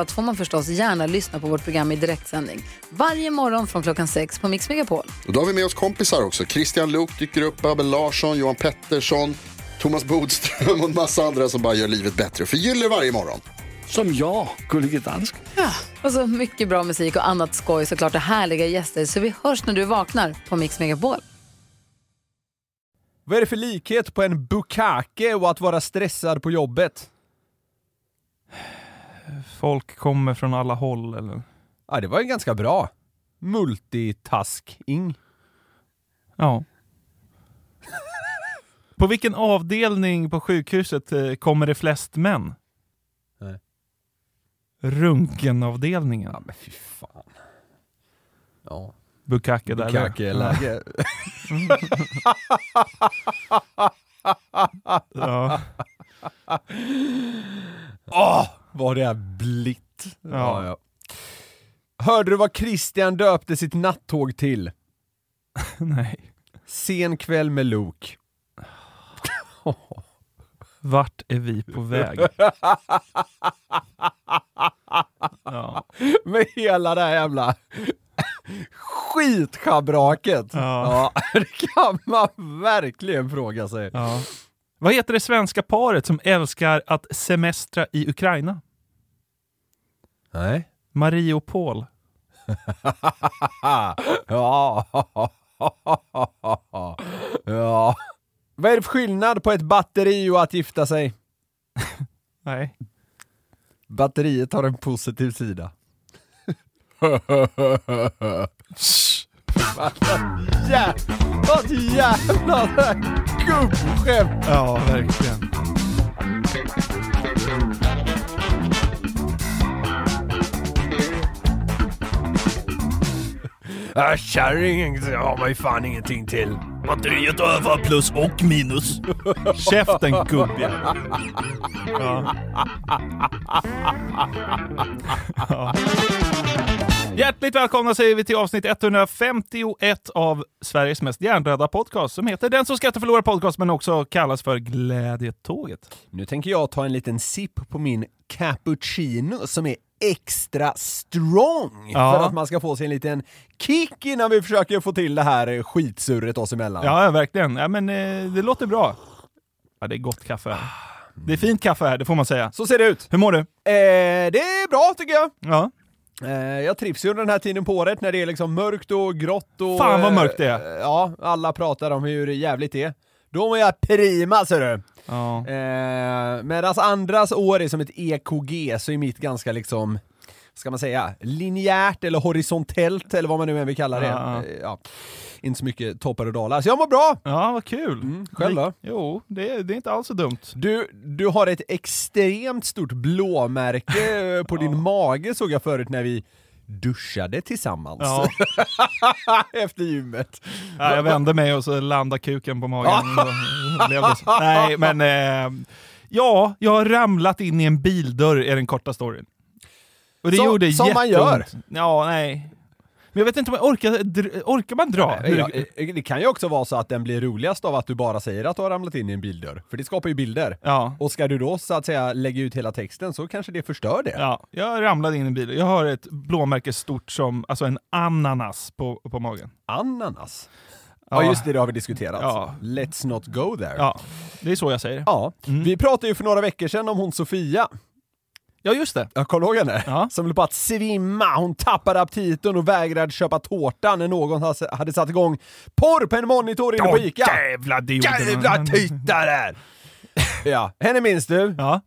allt får man förstås gärna lyssna på vårt program i direktsändning. Varje morgon från klockan sex på Mix Megapol. Och då har vi med oss kompisar också. Christian Luuk dyker upp, Abel Larsson, Johan Pettersson, Thomas Bodström och en massa andra som bara gör livet bättre och förgyller varje morgon. Som jag, Gullige Dansken. Och så mycket bra musik och annat skoj såklart och härliga gäster. Så vi hörs när du vaknar på Mix Megapol. Vad är det för likhet på en bukake och att vara stressad på jobbet? Folk kommer från alla håll eller? Ja, det var ju ganska bra. Multitasking. Ja. på vilken avdelning på sjukhuset eh, kommer det flest män? Nej. Röntgenavdelningen. men fy fan. Ja, Bukake där. eller? bukakeläge. Ja. Åh, vad det är blitt. Ja. Hörde du vad Christian döpte sitt nattåg till? Nej. Sen kväll med Luke. Vart är vi på väg? ja. Med hela det här jävla skitschabraket. Ja. ja, det kan man verkligen fråga sig. Ja. Vad heter det svenska paret som älskar att semestra i Ukraina? Nej. Marie och Paul. ja. ja. Vad är det för skillnad på ett batteri och att gifta sig? Nej. Batteriet har en positiv sida. Jä- Vad jävla gubbskämt! Ja, verkligen. Äh, kärringen har man ju fan ingenting till. Batteriet övar plus och minus. Käften gubbe! Ja. Hjärtligt välkomna säger vi till avsnitt 151 av Sveriges mest hjärndöda podcast som heter Den som skrattar förlorar podcast men också kallas för Glädjetåget. Nu tänker jag ta en liten sipp på min cappuccino som är extra strong Ja. för att man ska få sig en liten kick innan vi försöker få till det här eh, skitsurret oss emellan. Ja, ja, verkligen. Ja, men eh, det låter bra. Ja, det är gott kaffe här. Det är fint kaffe här, det får man säga. Så ser det ut. Hur mår du? Eh, det är bra tycker jag. Ja. Eh, jag trivs ju under den här tiden på året när det är liksom mörkt och grått och... Fan, vad eh, mörkt det är. eh, Ja, alla pratar om hur jävligt det är. Då mår jag prima ser du! ja. Eh, Medan andras år är som ett EKG så är mitt ganska liksom, ska man säga, linjärt eller horisontellt eller vad man nu än vill kalla det. Ja. Eh, ja. Inte så mycket toppar och dalar, så jag mår bra! Ja, vad kul! Mm, själv då? Jo, det, det är inte alls så dumt. Du, du har ett extremt stort blåmärke eh, på din mage såg jag förut när vi duschade tillsammans Ja. efter gymmet. Ja, jag vände mig och så landade kuken på magen. Och så blev det så. Nej, men... Eh, ja, jag har ramlat in i en bildörr är den korta storyn. Och det Som- gjorde som man gör. jätteont. Ja, nej. Men jag vet inte om jag orkar, dr- orkar man dra? Eh, ja, eh, Det kan ju också vara så att den blir roligast av att du bara säger att du har ramlat in i en bildörr, för det skapar ju bilder. ja. Och ska du då så att säga lägga ut hela texten så kanske det förstör det. ja, jag ramlade in i en bildörr. Jag har ett blåmärke stort som alltså en ananas på, på magen. Ananas. Ja. just det, det har vi diskuterat. Ja. Let's not go there. Ja, Mm. det är så jag säger. Ja. Vi pratade ju för några veckor sedan om hon Sofia. Ja, just det. Jag kommer du ihåg henne? Ja. Som höll på att svimma. Hon tappade aptiten och vägrade köpa tårta när någon has- hade satt igång porr på en monitor inne på Åh, Ica. jävla dioderna. Jävla typ. tittare! ja, henne minns du. Ja.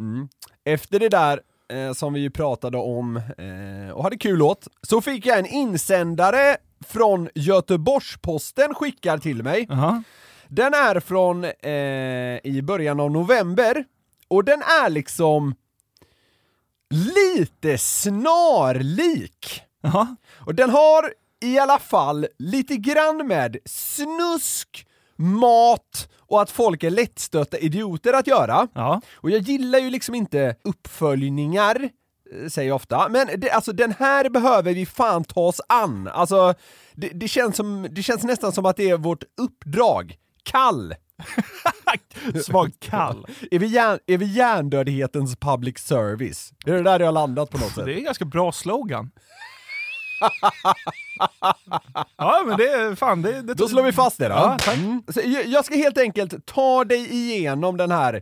Efter det där eh, som vi ju pratade om eh, och hade kul åt, så fick jag en insändare från Göteborgs-Posten skickad till mig. Aha. Den är från eh, i början av november och den är liksom lite snarlik. Jaha. Och den har i alla fall lite grann med snusk, mat och att folk är lättstötta idioter att göra. Ja. Och jag gillar ju liksom inte uppföljningar, eh, säger jag ofta, men det, alltså den här behöver vi fan ta oss an. Alltså, det, det, känns som, det känns nästan som att det är vårt uppdrag. Kall! Svagt kall. Är vi, hjärn, är vi hjärndödhetens public service? Det är det där jag har landat på något Det sätt. är en ganska bra slogan. ja, men det är fan... Det, det, Då slår vi fast det då. Ja, tack. Mm. Så jag, jag ska helt enkelt ta dig igenom den här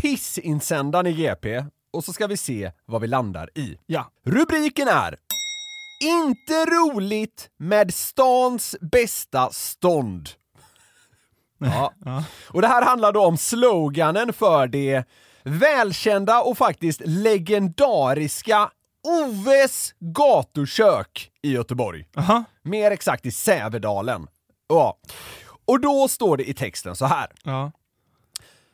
pissinsändaren i GP och så ska vi se vad vi landar i. Ja. Rubriken är Inte roligt med stans bästa stånd. Ja. Och det här handlar då om sloganen för det välkända och faktiskt legendariska Oves gatukök i Göteborg. Aha. Mer exakt i Sävedalen. Ja. Och då står det i texten så här. Ja.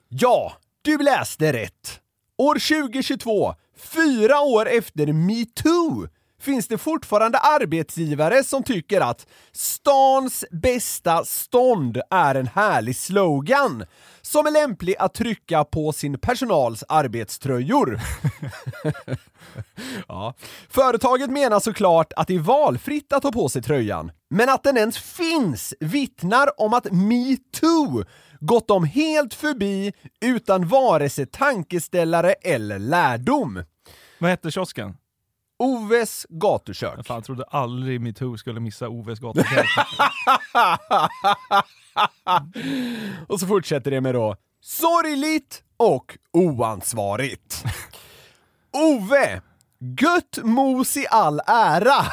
Ja, du läste rätt. År 2022, fyra år efter metoo, finns det fortfarande arbetsgivare som tycker att stans bästa stånd är en härlig slogan som är lämplig att trycka på sin personals arbetströjor. Ja. Företaget menar såklart att det är valfritt att ta på sig tröjan, men att den ens finns vittnar om att metoo gått dem helt förbi utan vare sig tankeställare eller lärdom. Vad hette kiosken? Oves gatukök. Jag fan trodde aldrig metoo skulle missa Oves gatukök. Och så fortsätter det med då sorgligt och oansvarigt. Ove! Gött mos i all ära,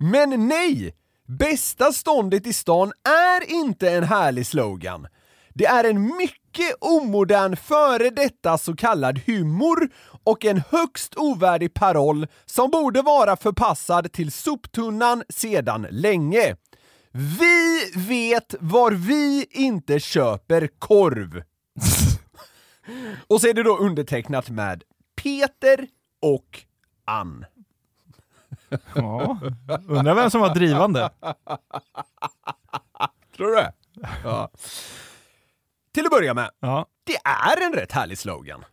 men nej! Bästa ståndet i stan är inte en härlig slogan. Det är en mycket omodern före detta så kallad humor och en högst ovärdig paroll som borde vara förpassad till soptunnan sedan länge. Vi vet var vi inte köper korv. och så är det då undertecknat med Peter och Ann. ja. Undrar vem som var drivande. Tror du det? Ja. Till att börja med, Ja. det är en rätt härlig slogan.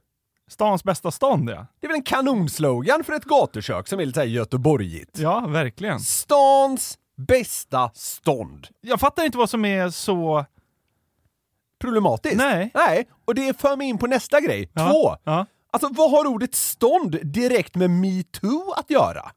Stans bästa stånd, ja. Det är väl en kanonslogan för ett gatukök som är lite såhär göteborgigt. Ja, verkligen. Stans bästa stånd. Jag fattar inte vad som är så... Problematiskt. Nej. Nej, och det för mig in på nästa grej. Ja. Två. Ja. Alltså vad har ordet stånd direkt med metoo att göra?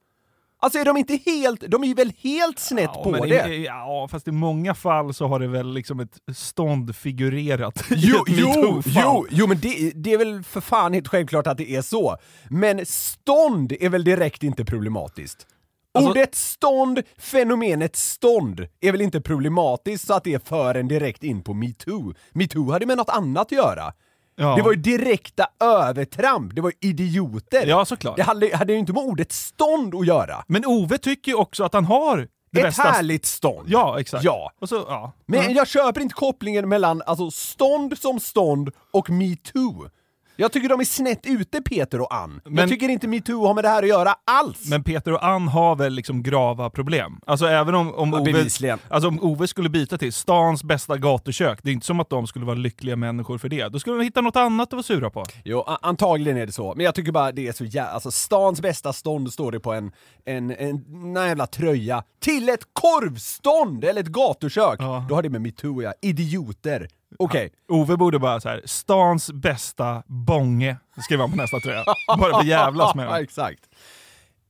Alltså är de inte helt, de är ju väl helt snett Ja, på men det? I, ja, fast i många fall så har det väl liksom ett stånd figurerat i Jo, ett jo, metoo-fall. jo, jo, men det, det är väl för fan helt självklart att det är så. Men stånd är väl direkt inte problematiskt? Alltså- Ordet stånd, fenomenet stånd, är väl inte problematiskt så att det för en direkt in på metoo? Metoo hade med något annat att göra. Ja. Det var ju direkta övertramp, det var ju idioter. Ja, såklart. Det hade, hade ju inte med ordet stånd att göra. Men Ove tycker ju också att han har det Ett bästa... härligt stånd. Ja, exakt. Ja. Och så, ja. Men Mm. jag köper inte kopplingen mellan alltså, stånd som stånd och metoo. Jag tycker de är snett ute, Peter och Ann. jag Men- tycker inte metoo har med det här att göra alls. Men Peter och Ann har väl liksom grava problem? Alltså även om, om, Ja, Ove, bevisligen. alltså om Ove skulle byta till stans bästa gatukök, det är inte som att de skulle vara lyckliga människor för det. Då skulle de hitta något annat att vara sura på. Jo, a- antagligen är det så. Men jag tycker bara det är så jävla... Alltså, stans bästa stånd står det på en, en, en, en jävla tröja. Till ett korvstånd eller ett gatukök! Ja. Då har det med metoo ja. Idioter. Okej. Ove borde bara så här, stans bästa bånge, skriver han på nästa tröja. Bara för jävlas med Ja, dem. exakt.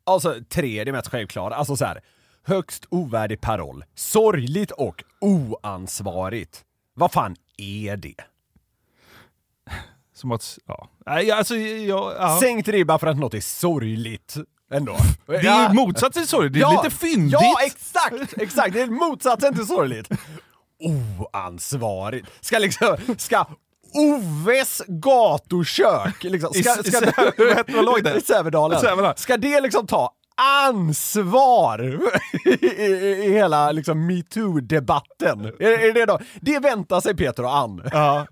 Alltså, tre, det mest självklara. Alltså så här. Högst ovärdig paroll. Sorgligt och oansvarigt. Vad fan är det? Som att, ja. Nej, alltså, jag, ja. Sänkt ribba för att något är sorgligt. Ändå. Det är ju motsatsen till sorg, det är lite fyndigt. Ja, exakt! Exakt, det är motsatsen till sorgligt. Oansvarigt. Ska liksom, ska Oves gatukök, liksom. Ska, I- i Sä- vad hette- vad låg det? I Sävedalen. Sävedalen. Ska det liksom ta ansvar i, i, i hela liksom metoo-debatten? Är, är det då? Det väntar sig Peter och Ann. ja.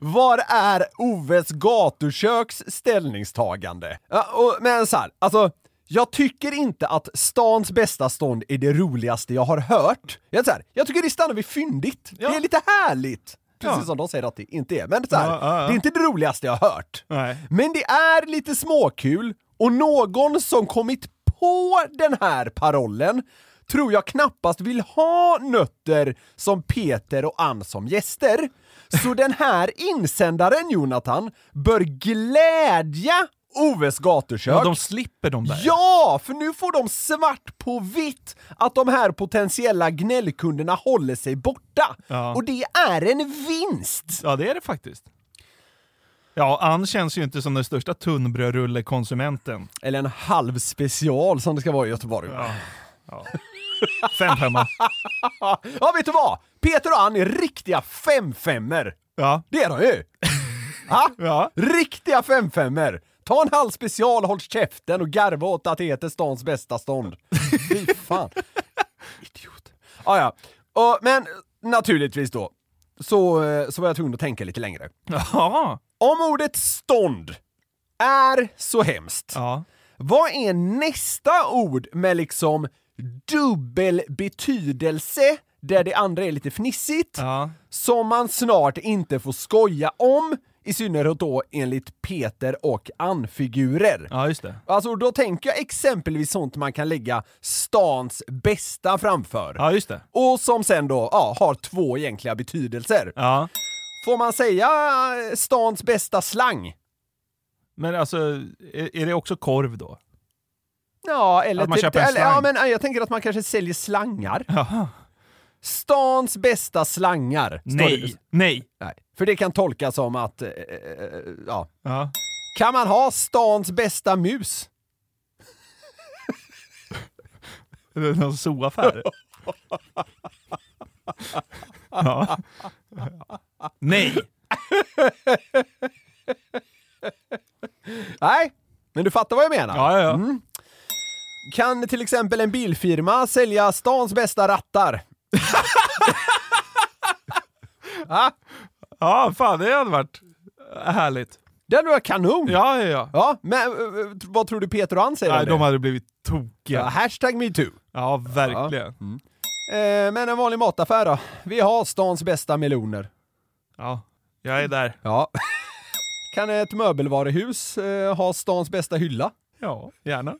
Var är Oves gatuköks ställningstagande? Ja, och, men så här, alltså jag tycker inte att stans bästa stånd är det roligaste jag har hört. Jag, så här, jag tycker det stannar vid fyndigt. Det är lite härligt. Precis Ja. som de säger att det inte är. Men så här, Ja, ja, ja. det är inte det roligaste jag har hört. Nej. Men det är lite småkul och någon som kommit på den här parollen tror jag knappast vill ha nötter som Peter och Ann som gäster. Så den här insändaren, Jonathan, bör glädja Oves gatukök. Ja, de slipper de där. Ja, för nu får de svart på vitt att de här potentiella gnällkunderna håller sig borta. Ja. Och det är en vinst! Ja, det är det faktiskt. Ja, Ann känns ju inte som den största tunnbrödrullekonsumenten. Eller en halv special som det ska vara i Göteborg. Fem femma. Ja, vet du vad? Peter och Ann är riktiga femfemmer. Ja. Det är de ju! Ha? Ja. Riktiga femfemmer! Ta en halv special, håll käften och garva åt att det heter stans bästa stånd. Fy fan. Idiot. Ah, ja. Och, men naturligtvis då, så, eh, så var jag tvungen att tänka lite längre. Ja. Om ordet stånd är så hemskt, ja. vad är nästa ord med liksom dubbel betydelse där det andra är lite fnissigt? Ja. Som man snart inte får skoja om, i synnerhet då enligt Peter och Ann-figurer. Ja, just det. Alltså då tänker jag exempelvis sånt man kan lägga stans bästa framför. Ja, just det. Och som sen då ja, har två egentliga betydelser. Ja. Får man säga eh, stans bästa slang? Men alltså, är, är det också korv då? Ja, eller... Att man typ- köper en eller, ja, slang. men eh, jag tänker att man kanske säljer slangar. Jaha. Stans bästa slangar. står Nej. det. Nej. Nej. För det kan tolkas som att, eh, eh, ja. Ja. Kan man ha stans bästa mus? Är det någon zooaffär? ja. Nej. Nej, men du fattar vad jag menar. Ja, ja, ja. Mm. Kan till exempel en bilfirma sälja stans bästa rattar? Ja, fan det hade varit härligt. Det hade varit kanon! Ja, ja, ja. Ja, men eh, eh, vad tror du Peter och han säger Nej, om det? de hade blivit ja, tokiga. hashtag metoo. Ja, verkligen. Eh, men en vanlig mataffär då? Vi har stans bästa meloner. Ja, jag är där. Ja. kan ett möbelvaruhus eh, ha stans bästa hylla? Ja, gärna.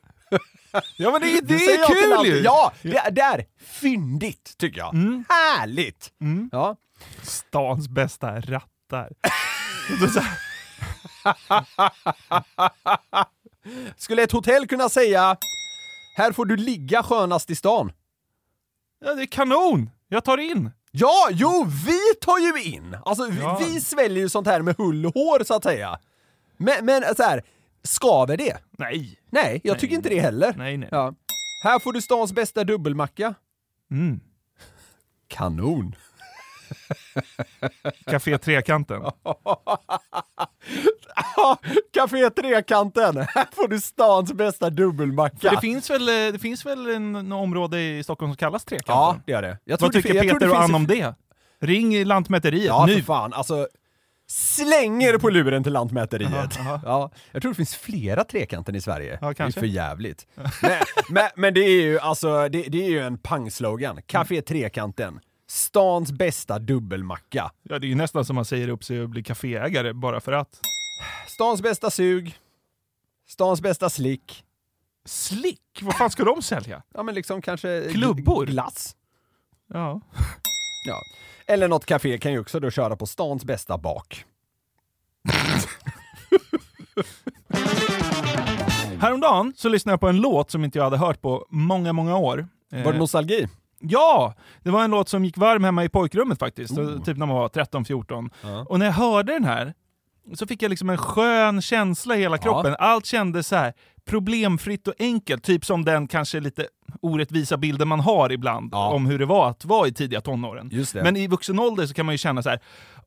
Ja, men det, det säger jag till är kul alltid. ju! Mm. Ja, det, det är fyndigt tycker jag. Härligt! Ja. Stans bästa rattar. Och då så här, Skulle ett hotell kunna säga här får du ligga skönast i stan? ja, det är kanon! Jag tar in! Ja, jo, vi tar ju in! Alltså, vi, Ja. vi sväljer ju sånt här med hull och hår, så att säga. Men, men så här, skaver det? Nej. Nej, jag tycker inte det heller. Nej, nej. Ja. Här får du stans bästa dubbelmacka. Mm. Kanon! Café Trekanten. Café Trekanten! Här får du stans bästa För dubbelmacka. det finns väl, eh, det finns väl en, en område i Stockholm som kallas Trekanten? ja, det gör det. Jag tror Vad det tycker fin- jag tror Peter det och finns Ann i- om det? Ring Lantmäteriet Ja, för nu! fan. Alltså, slänger på luren till Lantmäteriet. Ja, jag tror det finns flera trekanten i Sverige. Ja, kanske. Det är för jävligt. men, men, men det är ju alltså, det, det är ju en pangslogan. Café Trekanten. Stans bästa dubbelmacka. Ja, det är ju nästan som man säger upp sig och blir kaféägare bara för att. Stans bästa sug. Stans bästa slick. Slick! Vad fan ska de sälja? Ja, men liksom kanske... gl- Klubbor. Glass. Ja. Ja. Eller något café kan ju också då köra på stans bästa bak. Häromdagen så lyssnade jag på en låt som inte jag hade hört på många, många år. Var Eh, det nostalgi? Ja! Det var en låt som gick varm hemma i pojkrummet faktiskt, Oh. typ när man var 13-14. Och när jag hörde den här så fick jag liksom en skön känsla i hela kroppen. Allt kändes så här problemfritt och enkelt, typ som den kanske lite orättvisa bilden man har ibland Ja. om hur det var att vara i tidiga tonåren. Just det. Men i vuxen ålder så kan man ju känna så här,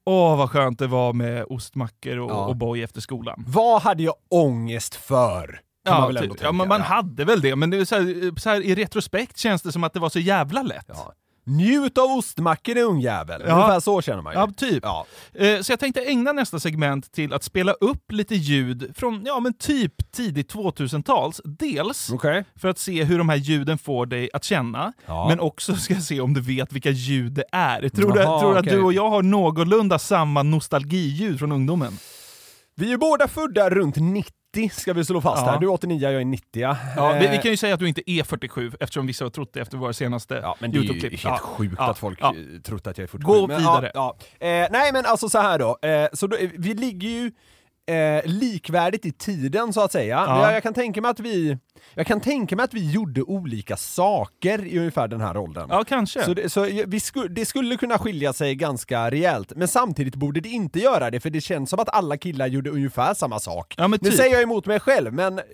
åh vad skönt det var med ostmackor och, Ja. och boy efter skolan. Vad hade jag ångest för? Kan Ja, man väl ändå typ. tänka. ja, men man Ja. hade väl det, men det är så här, så här, i retrospekt känns det som att det var så jävla lätt. Ja. Njut av ostmackor i ungjävel. Ja. Ungefär så känner man ju. Ja, typ. Ja. Eh, Så jag tänkte ägna nästa segment till att spela upp lite ljud från ja, men typ tidigt 2000-tals. Dels Okej. för att se hur de här ljuden får dig att känna, Ja. men också ska jag se om du vet vilka ljud det är. Tror du, Jaha, tror du att okej. du och jag har någorlunda samma nostalgiljud från ungdomen? Vi är båda födda runt 90 ska vi slå fast Ja. här. Du är 89, jag är Eh, 90. Ja, Eh, vi, vi kan ju säga att du inte är 47, eftersom vissa har trott det efter våra senaste Ja, men det är ju Youtube-klipp. helt sjukt ja, att folk ja. ja. trott att jag är 47. Gå men, vidare. Ja, ja. Eh, nej, men alltså så här då. Eh, så då eh, vi ligger ju eh, likvärdigt i tiden, så att säga. Ja. Men Jag, jag, kan tänka mig att vi, jag kan tänka mig att vi gjorde olika saker i ungefär den här åldern. Ja, kanske. Så, det, så vi sku, det skulle kunna skilja sig ganska rejält, men samtidigt borde det inte göra det, för det känns som att alla killar gjorde ungefär samma sak. Ja, men nu typ. säger jag emot mig själv, men eh,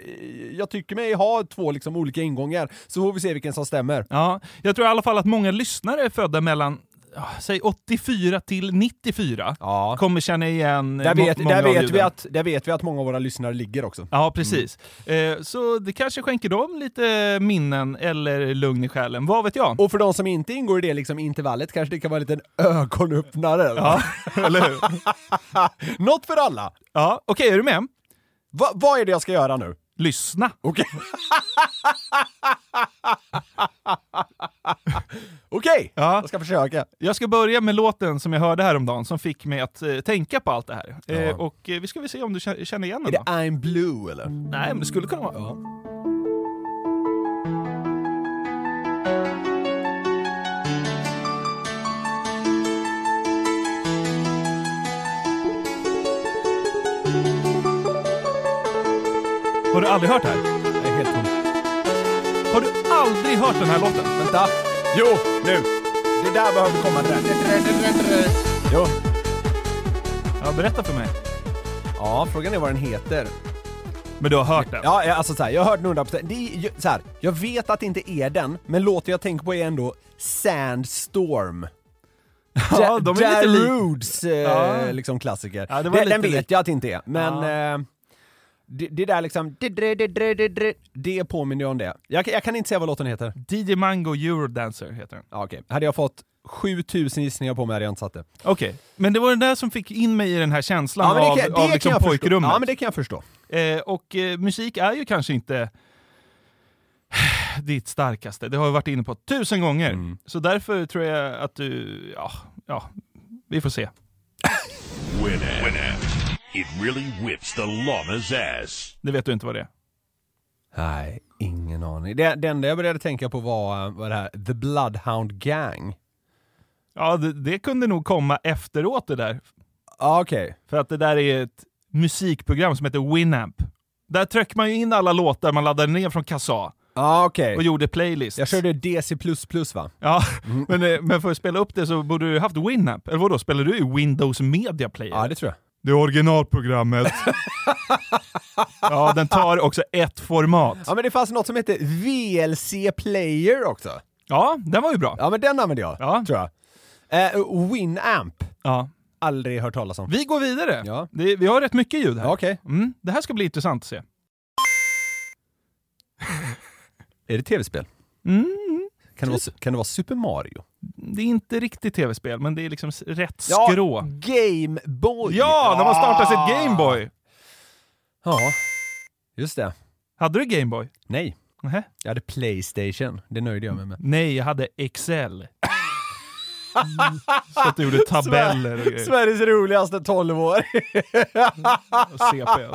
jag tycker mig ha två liksom olika ingångar, så får vi se vilken som stämmer. Ja, jag tror i alla fall att många lyssnare är födda mellan ah, Säg 84 till 94 Ja. kommer känna igen eh, Där må- vet, många där, av vet vi ljuden. att, där vet vi att många av våra lyssnare ligger också. Ja, precis. Eh, så det kanske skänker dem lite minnen eller lugn i själen, vad vet jag? Och för de som inte ingår i det liksom intervallet kanske det kan vara en liten ögonöppnare. Ja, eller hur? Något för alla! Ja, okej, är du med? Va, vad är det jag ska göra nu? Lyssna. Okej. Okej, Ja. jag ska försöka. Jag ska börja med låten som jag hörde häromdagen som fick mig att eh, tänka på allt det här. Eh, och eh, vi ska väl se om du kä- känner igen Är den det då? I'm blue eller? Nej, men det skulle kunna vara. Har du aldrig hört det här? Jag är helt tom. Har du aldrig hört den här låten? Vänta. Jo, nu. Det där behöver komma. Det där. Jo. Ja, berätta för mig. Ja, frågan är vad den heter. Men du har hört den? Ja, jag- alltså så här, jag har hört den 100%. Det är, ju- så här, jag vet att det inte är den, men låten jag tänker på är ändå Sandstorm. Ja, de är Ja lite lik. Rudes eh, Ja. liksom klassiker. Ja, det var den, den lite vet lik. jag att det inte är, men eh, det, det där liksom... Det, det, det, det, det, det, det påminner ju om det. Jag, jag kan inte säga vad låten heter. DJ Mango Eurodancer heter den. Ja, okej. Hade jag fått 7000 gissningar på mig hade jag inte satt det. Okej, men det var den där som fick in mig i den här känslan men det av, av det liksom jag förstå. pojkrummet. Ja, men det kan jag förstå. Eh, och eh, musik är ju kanske inte ditt starkaste. Det har vi varit inne på tusen gånger. Mm. Så därför tror jag att du... Ja, ja vi får se. Winamp. It really whips the llama's ass. Det vet du inte vad det är. Nej, ingen aning. Det, det enda jag började tänka på var, var det här The Bloodhound Gang. Ja, det, det kunde nog komma efteråt det där. Ja, okej. För att det där är ett musikprogram som heter Winamp. Där tryckte man ju in alla låtar man laddade ner från Kazaa Ja, okej. och gjorde playlists. Jag körde Mm. DC++ va? Ja, men, eh, men för att spela upp det så borde du haft Winamp. Eller vadå, spelar du i Windows Media Player? Ja, det tror jag. Det är originalprogrammet. ja, den tar också ett format. Ja, men det fanns något som hette VLC Player också. Ja, den var ju bra. Ja, men den använde jag, Ja. tror jag. Eh, Winamp. Ja. Aldrig hört talas om. Vi går vidare. Ja. Det, vi har rätt mycket ljud här. Ja, Okej. Mm, det här ska bli intressant att se. Är det tv-spel? Mm, Kan, det vara, kan det vara Super Mario? det är inte riktigt tv-spel, men det är liksom s- rätt skrå. Game Boy! Ja, när man startar sitt Gameboy! Ja, just det. Hade du Gameboy? Nej, Nähä. jag hade Playstation. Det nöjde jag mig med. Nej, jag hade Excel. Mm, Så att du gjorde tabeller och grejer. Sveriges roligaste 12 år. Och CP.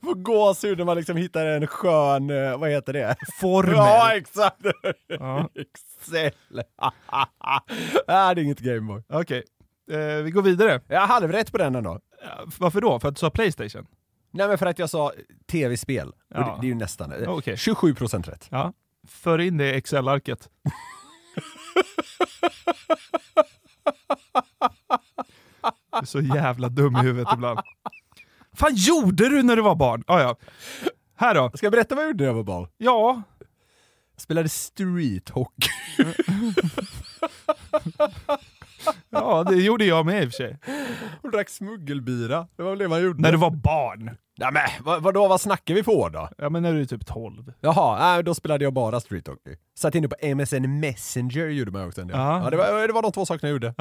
Får gåshud när man liksom hittar en skön, eh, vad heter det? Ja, Formel. exakt! Ja. Excel. ah, det är inget Gameboy. Okej, eh, vi går vidare. Jag har halvrätt på den ändå. Ja, Varför då? För att du sa Playstation? Nej men för att jag sa eh, tv-spel. Ja. Och det, det är ju nästan eh, Okej. 27% rätt. Ja. För in det i Excel-arket. du är så jävla dum i huvudet ibland. fan gjorde du när du var barn? Ah, ja. Här då. Ska jag berätta vad jag gjorde när jag var barn? Ja, Jag spelade streethockey. ja, det gjorde jag med i och för sig. Och drack smuggelbira. Det var väl det man gjorde. När du var barn. Nej, men, vad, vadå, vad snackar vi på då? Ja, men när du är typ 12. Jaha, nej, då spelade jag bara Street Hockey. Satt inne på MSN Messenger gjorde man också en del. Ja. Ja, det, var, det var de två sakerna jag gjorde.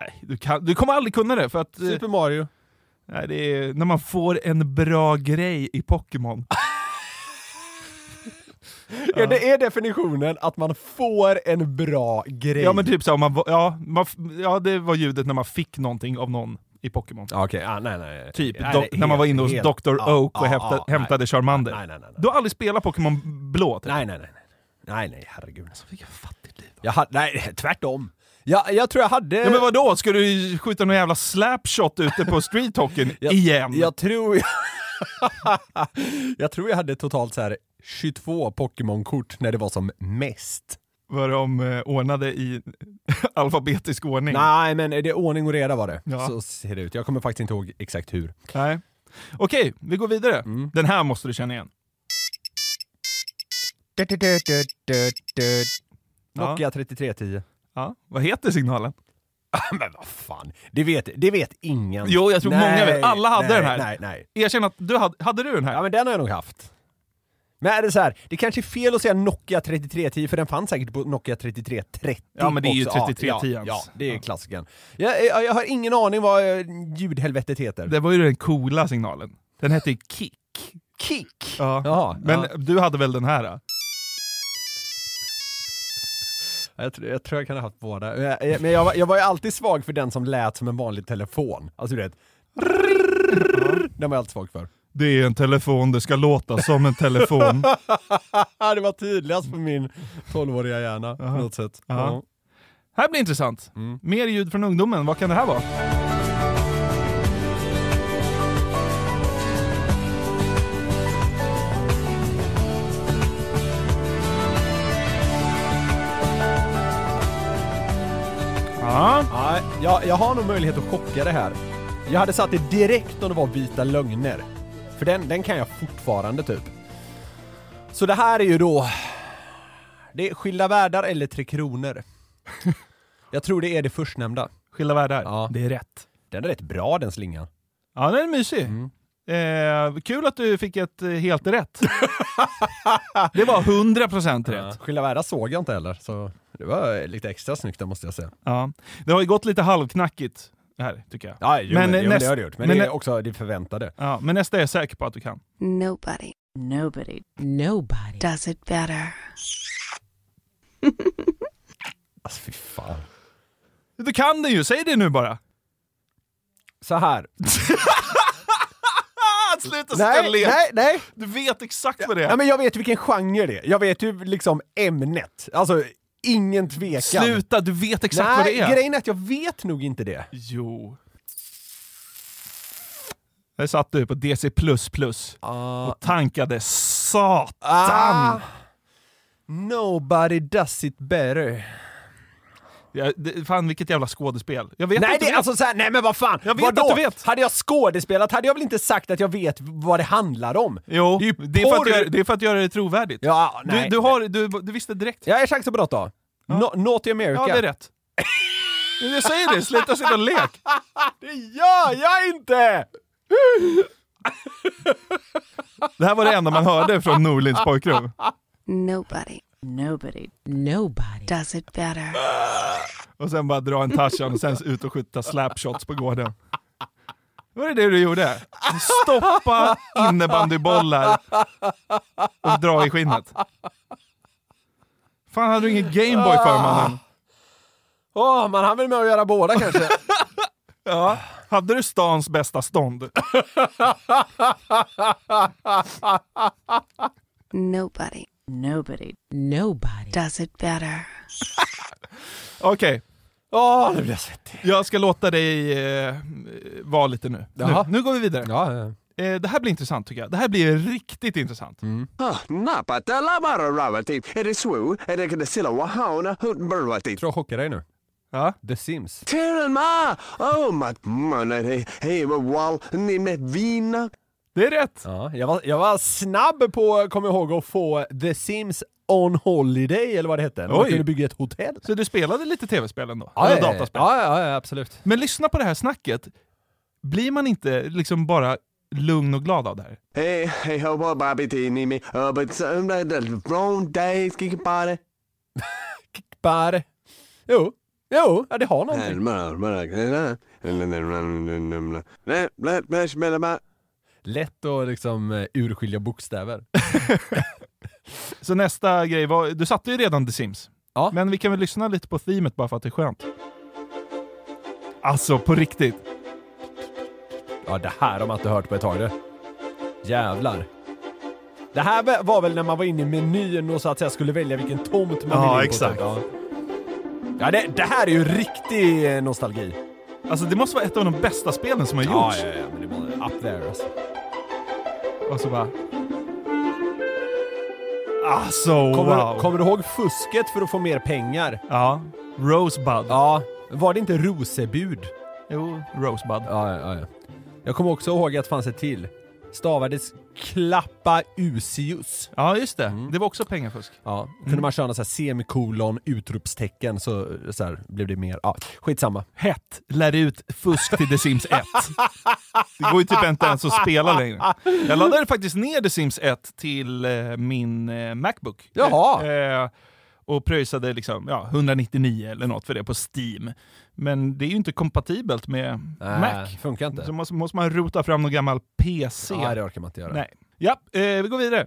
Nej, du, kan, du kommer aldrig kunna det, för att... eh, Super Mario. Nej, det är när man får en bra grej i Pokémon. Ja. Det är definitionen att man får en bra grej. Ja, men typ så, här, om man, va- ja, man, f- ja, det var ljudet när man fick någonting av någon i Pokémon. Ja, Okej, ah, nej, nej. nej. Typ Nej, do- det är när man var inne hos helt- Dr. ja, Oak och ja, hämta, ja, hämtade Charmander. Nej, nej, nej. nej. Du har aldrig spelat Pokémon blå? Typ. Nej, nej, nej. nej. Nej, nej, herregud. alltså. Vilket fattigt liv. Jag hade, nej, tvärtom. Jag, jag tror jag hade... Ja, men vadå? Ska du skjuta någon jävla slapshot ute på streethockeyn jag, igen? Jag tror jag... jag tror jag hade totalt så här 22 Pokémon-kort när det var som mest. Var de eh, ordnade i alfabetisk ordning? Nej, men det är ordning och reda var det. Ja. Så ser det ut. Jag kommer faktiskt inte ihåg exakt hur. Nej. Okej, vi går vidare. Mm. Den här måste du känna igen. Ja. Nokia 3310. Ja. Vad heter signalen? Men vad fan, det vet, det vet ingen. Jo, jag tror många vet. Alla hade nej, den här. Nej, nej. Erkänn att du hade, hade du den här? Ja, men den har jag nog haft. Men är det så här, det kanske är fel att säga Nokia 3310 för den fanns säkert på Nokia 3330 Ja, men det är ju också. Ja, 3310 Ja, alltså. ja, ens. det är Ja. klassikern. Jag, jag, jag har ingen aning vad eh, ljudhelvetet heter. Det var ju den coola signalen. Den hette ju kick. Kick! Ja. Jaha, Men ja. du hade väl den här? Då? Jag, tror- jag tror jag kan ha haft båda. Men jag, Eh, men jag, var- jag var ju alltid svag för den som lät som en vanlig telefon. Alltså du vet, den var jag alltid svag för. Det är en telefon, det ska låta som en telefon. det var tydligast på min 12-åriga hjärna på något sätt. Ja. här blir intressant. Mm. Mer ljud från ungdomen, vad kan det här vara? Ja, Nej, jag, jag har nog möjlighet att chocka det här. Jag hade satt det direkt om det var Vita Lögner. För den, den kan jag fortfarande typ. Så det här är ju då... Det är Skilda Världar eller Tre Kronor. Jag tror det är det förstnämnda. Skilda världar. Ja. Det är rätt. Den är rätt bra den slingan. Ja, den är mysig. Mm. Eh, kul att du fick ett eh, helt rätt. det var 100% rätt. Skilda Världar såg jag inte heller, så det var lite extra snyggt där måste jag säga. Ja. Det har ju gått lite halvknackigt här, tycker jag. Ja, jo, men, Men, men, jo, men eh, näst- det har det gjort. Men, men det är nä- också det förväntade. Ja, men nästa är jag säker på att du kan. Nobody Nobody. Nobody. does it better. Alltså fy fan. Du kan det ju, säg det nu bara! Så här. Ah, sluta ställa er. nej, nej. Du vet exakt vad det är! Ja, men jag vet ju vilken genre det är. Jag vet ju liksom ämnet. Alltså, ingen tvekan. Sluta, du vet exakt Nej, vad det är! grejen är att jag vet nog inte det. Jo. Där satt du på DC++ Ah. och tankade satan! Nobody does it better. Ja, det, fan vilket jävla skådespel. Jag vet nej, inte det är alltså såhär, nej men vad fan! Jag vet Vadå? att du vet. Hade jag skådespelat hade jag väl inte sagt att jag vet vad det handlar om? Jo, det är ju det är, för att porr. göra, det är för att göra det trovärdigt. Ja, du, nej. du, har, du, du visste direkt. Jag är chansar på något då. No, Naughty America. Ja, det är rätt. Jag säger det, sluta sitta och lek! Det gör jag inte! Det här var det enda man hörde från Norlins pojkrum. Nobody Nobody. Nobody. does it better. Och sen bara dra en Tarzan och sen ut och skjuta slapshots på gården. Var det det du gjorde? Stoppa innebandybollar och dra i skinnet. Fan, hade du ingen Gameboy för mannen? Åh, man hann väl med att göra båda kanske. Ja. Hade du stans bästa stånd? Nobody Nobody. Nobody. does it better. Okej, Åh, nu blir jag svettig. jag ska låta dig eh, vara lite nu. Nu, Jaha. nu går vi vidare. Ja, ja. Eh, det här blir intressant tycker jag. Det här blir riktigt intressant. Mm. tror jag chockar dig nu. Ja. The Sims. Oh Det är rätt! Ja, jag, var, jag var snabb på, kom jag ihåg, att få The Sims on Holiday eller vad det hette. När man Oj. kunde bygga ett hotell. Så du spelade lite tv-spel ändå? Eller dataspel? Ja, ja, ja, absolut. Men lyssna på det här snacket. Blir man inte liksom bara lugn och glad av det här? Hey, hey, ho, boy, Bobby, teeny me. Uh, but some like the wrong days, kick body. Kickbar. Jo, jo, ja, det har någonting. Lätt att liksom eh, urskilja bokstäver. Så nästa grej var, du satte ju redan The Sims. Ja. Men vi kan väl lyssna lite på themet bara för att det är skönt. Alltså på riktigt. Ja, det här har man inte hört på ett tag du. Jävlar. Det här var väl när man var inne i menyn och så att säga skulle välja vilken tomt man Ja, ville in på, exakt. typ. Ja, Ja, det, det här är ju riktig eh, nostalgi. Alltså det måste vara ett av de bästa spelen som har Ja, gjorts. ja, ja, men det var up there alltså. Och så bara... Alltså Kommer, wow. kommer du ihåg fusket för att få mer pengar? Ja. Rosebud. Ja. Var det inte rosebud? Jo, Rosebud. Ja, ja, ja. Jag kommer också ihåg att det fanns ett till. Stavades klappa usius. Ja, just det. Mm. Det var också pengafusk. Ja, kunde Mm. man köra något så här semikolon, utropstecken så, så här, blev det mer. Ja, skitsamma. Hett lär ut fusk till The Sims 1. Det går ju typ inte ens att spela längre. Jag laddade faktiskt ner The Sims 1 till eh, min eh, Macbook. Jaha. Eh, och pröjsade liksom, ja, 199 eller något för det på Steam. Men det är ju inte kompatibelt med eh, Mac. Nej, Funkar inte. Så måste, måste man rota fram någon gammal PC. Nej, det orkar man inte göra. Nej. Ja, eh, vi går vidare.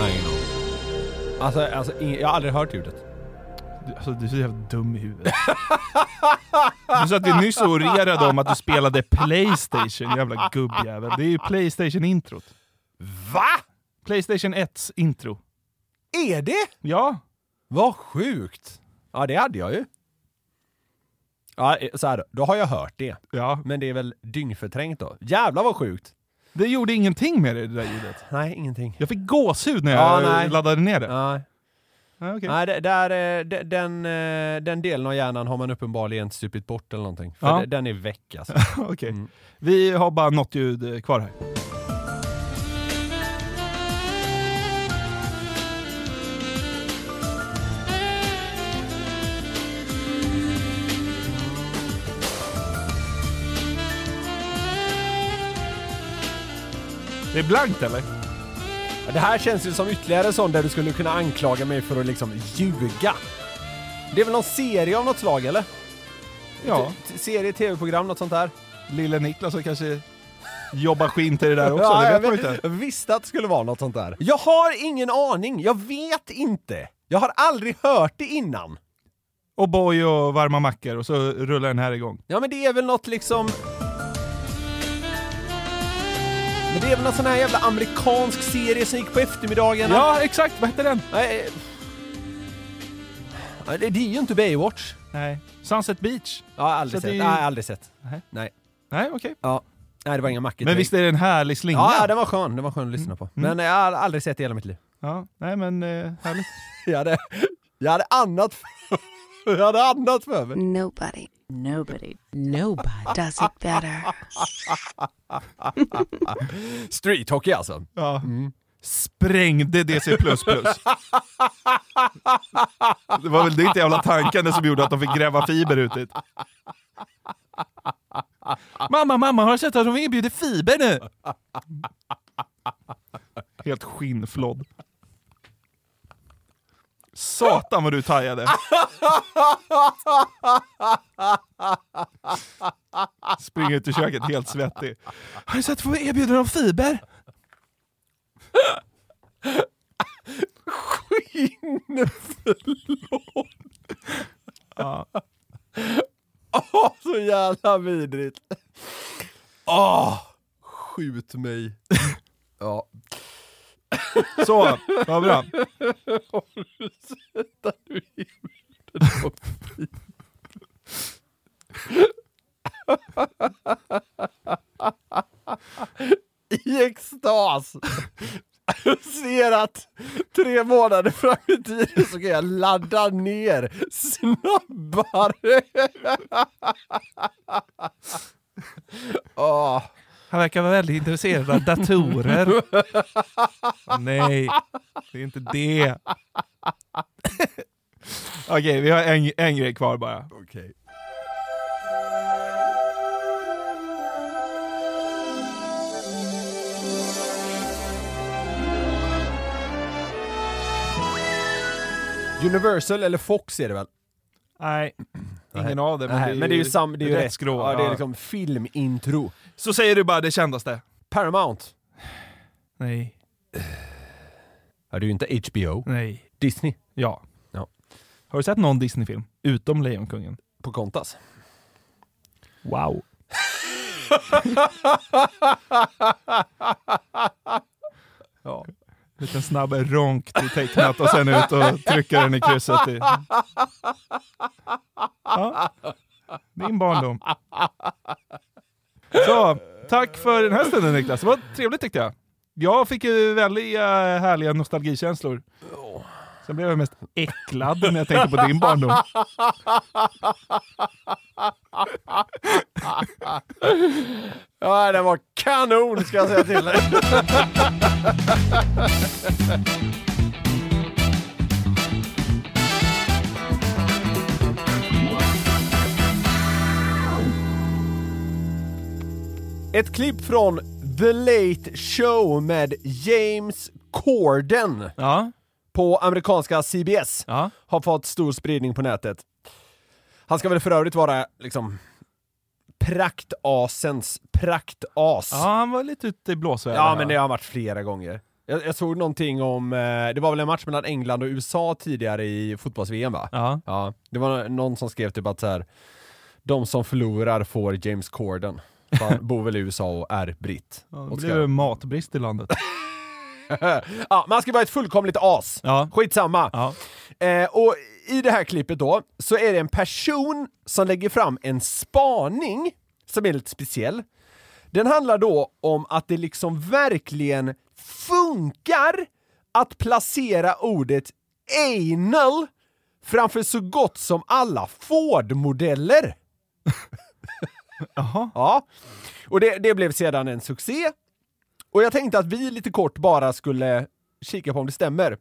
Nej, no. Alltså, alltså ing- jag har aldrig hört ljudet. Du, alltså, du är så jävla dum i huvudet. Du satt ju nyss och orerade om att du spelade Playstation, jävla gubbjävel. Det är ju Playstation-introt. Va? Playstation 1s intro. Är det? Ja, Vad sjukt! Ja, det hade jag ju. Ja, eh, så här, då har jag hört det. ja. Men det är väl dyngförträngt då. Jävlar vad sjukt! Det gjorde ingenting med det, det där ljudet. Nej, ingenting. Jag fick gåshud när Ja, jag nej. laddade ner det. Nej, Ja, okej. nej det, där, eh, de- den, eh, den delen av hjärnan har man uppenbarligen supit bort eller någonting. För Ja. det- den är väck alltså. Ah, Okej. Vi har bara något ljud eh, kvar här. Det är blankt eller? Ja, Det här känns ju som ytterligare sån där du skulle kunna anklaga mig för att liksom ljuga. Det är väl någon serie av något slag eller? Ja, T- serie, tv-program, något sånt där? lille Niklas som kanske jobbar skinn till det där också, Ja, det jag vet man vet- inte. Jag visste att det skulle vara något sånt där. Jag har ingen aning. Jag vet inte. Jag har aldrig hört det innan. Och boy och varma mackor och så rullar den här igång. Ja, men det är väl något liksom... Men det är väl någon sån här jävla amerikansk serie som gick på eftermiddagarna? Ja, exakt! Vad hette den? Nej. Nej, det det är ju inte Baywatch. Nej. Sunset Beach. Jag har aldrig Så sett. det är ju- Nej, aldrig sett. Nej. Nej. Nej, okej. Ja. Nej, det var inga mackor. Men direkt. visst är det en härlig slinga? Ja, Mm. ja, den var skön. Den var skön att lyssna på. Men jag har aldrig sett det i hela mitt liv. Ja, nej men eh, härligt. Jag hade, jag hade annat för Jag hade annat för mig. Nobody Nobody, nobody. does it better. Street hockey alltså. Ja. Sprängde DC++. det var väl ditt jävla tankande som gjorde att de fick gräva fiber ut dit. Mamma, mamma, har du sett att de erbjuder fiber nu? Helt skinnflådd. Satan vad du tajade. Springer ut i köket helt svettig. Har du sett att de erbjuder dem fiber? Åh, så jävla vidrigt. Åh, skjut mig. Ja. Så, vad bra. I extas. Jag ser att tre månader fram i tiden så kan jag ladda ner snabbare. Åh. Han verkar vara väldigt intresserad av datorer. Nej, det är inte det. Okej, vi har en, en grej kvar bara. Okej. Universal eller Fox är det väl? Nej, ingen av det. Men, Nej, det, är men det är ju, sam, det är ju rätt rätt. skrå. Ja, det är liksom filmintro. Så säger du bara det kändaste. Paramount. Nej, Ja, det är ju inte HBO. nej, Disney. ja. Ja. Har du sett någon Disney-film? Utom Lejonkungen? På kontas. Wow. ja. Liten snabb ronk till tecknat och sen ut och trycka den i krysset. I. Ja. Din barndom. Så, tack för den här stunden Niklas. Det var trevligt tyckte jag. Jag fick ju väldigt eh, härliga nostalgikänslor. Sen blev jag mest äcklad när jag tänkte på din barndom. Ja, den var kanon ska jag säga till dig. Ett klipp från The Late Show med James Corden Ja, på amerikanska CBS ja. har fått stor spridning på nätet. Han ska väl för övrigt vara liksom praktasens praktas. Ja, han var lite ute i blåsväder. Ja, men det har han varit flera gånger. Jag, jag såg någonting om, eh, det var väl en match mellan England och USA tidigare i fotbolls-VM va? Ja. Ja, det var någon som skrev typ att så här, de som förlorar får James Corden. För Han bor väl i USA och är britt. Ja, Och det ska- blev matbrist i landet. ja, man ska vara ett fullkomligt as. Ja. Skitsamma. Ja. Eh, och i det här klippet då, så är det en person som lägger fram en spaning som är lite speciell. Den handlar då om att det liksom verkligen funkar att placera ordet anal framför så gott som alla Ford-modeller. Jaha. Ja. Och det, det blev sedan en succé. Och jag tänkte att vi lite kort bara skulle kika på om det stämmer.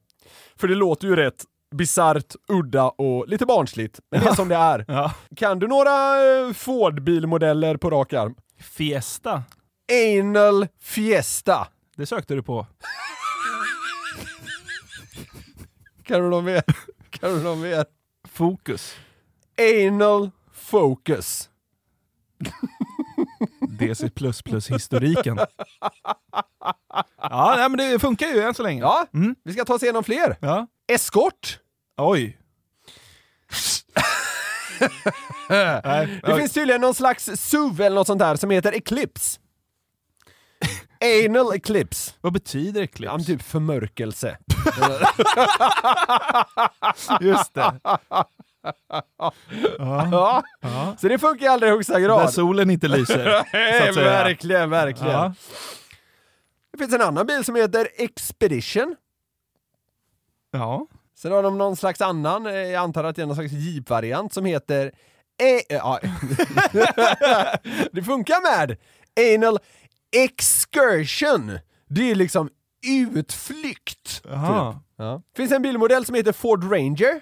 För det låter ju rätt bisarrt, udda och lite barnsligt. Men det är som det är. Ja. Kan du några eh, Ford-bilmodeller på rak arm? Fiesta. Anal Fiesta. Det sökte du på. Kan du någon mer? Kan du någon mer? Fokus. Anal Focus. DC++ historiken. Ja, nej, men det funkar ju än så länge. Ja, Mm. vi ska ta oss igenom fler. ja. Escort. Oj. nej, Det oj. finns tydligen någon slags SUV eller något sånt där som heter Eclipse. Anal Eclipse. Vad betyder Ja, men Eclipse? typ förmörkelse. Just det. Ja. Ja. Så det funkar i allra högsta Där grad. solen inte lyser. så Nej, att säga. verkligen, verkligen. Ja. Det finns en annan bil som heter Expedition. ja. Sen har de någon slags annan, eh, jag antar att det är någon slags Jeep-variant som heter... E- ja. det funkar med Anal Excursion. Det är liksom utflykt. typ. Jaha. Ja. Finns en bilmodell som heter Ford Ranger.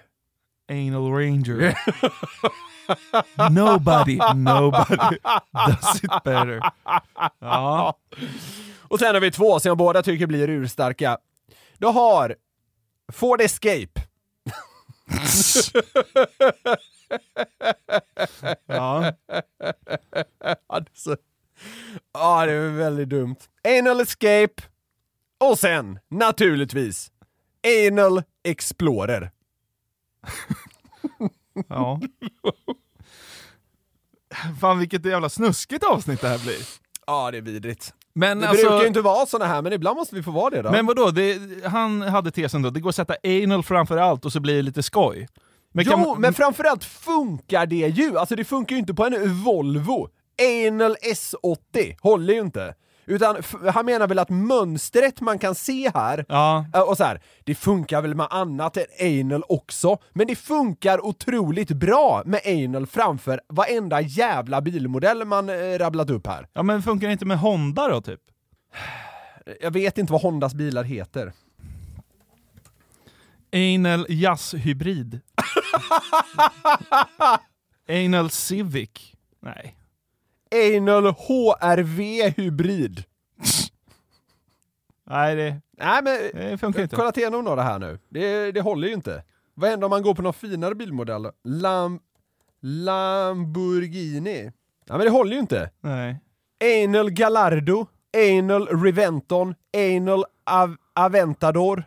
Anal Ranger. nobody, nobody does it better. Ja, Och sen har vi två som jag båda tycker blir urstarka. Du har Ford Escape. ja. Alltså. Ja, det är väldigt dumt. Anal Escape. Och sen, naturligtvis, Anal Explorer. ja. Fan vilket jävla snuskigt avsnitt det här blir. Ja, det är vidrigt. Men Det alltså, brukar ju inte vara såna här, men ibland måste vi få vara det då. Men vadå, det, han hade tesen då, det går att sätta anal framför allt och så blir det lite skoj. Men jo, kan man- men framförallt funkar det ju. Alltså det funkar ju inte på en Volvo. Anal S80 håller ju inte. Utan f- han menar väl att mönstret man kan se här Ja, Äh, Och så här, det funkar väl med annat än anal också, men det funkar otroligt bra med anal framför varenda jävla bilmodell man eh, rabblat upp här. ja, men funkar det inte med Honda då typ? Jag vet inte vad Hondas bilar heter. Anal jazzhybrid. Anal civic. Nej. Anal HRV hybrid. Nej, det, Nej men det funkar Jag har inte. kollat igenom några här nu. Det, det håller ju inte. Vad händer om man går på någon finare bilmodell? Lam, Lamborghini? Ja, men det håller ju inte. Nej. Anal Gallardo, Anal Reventon, Anal Av- Aventador.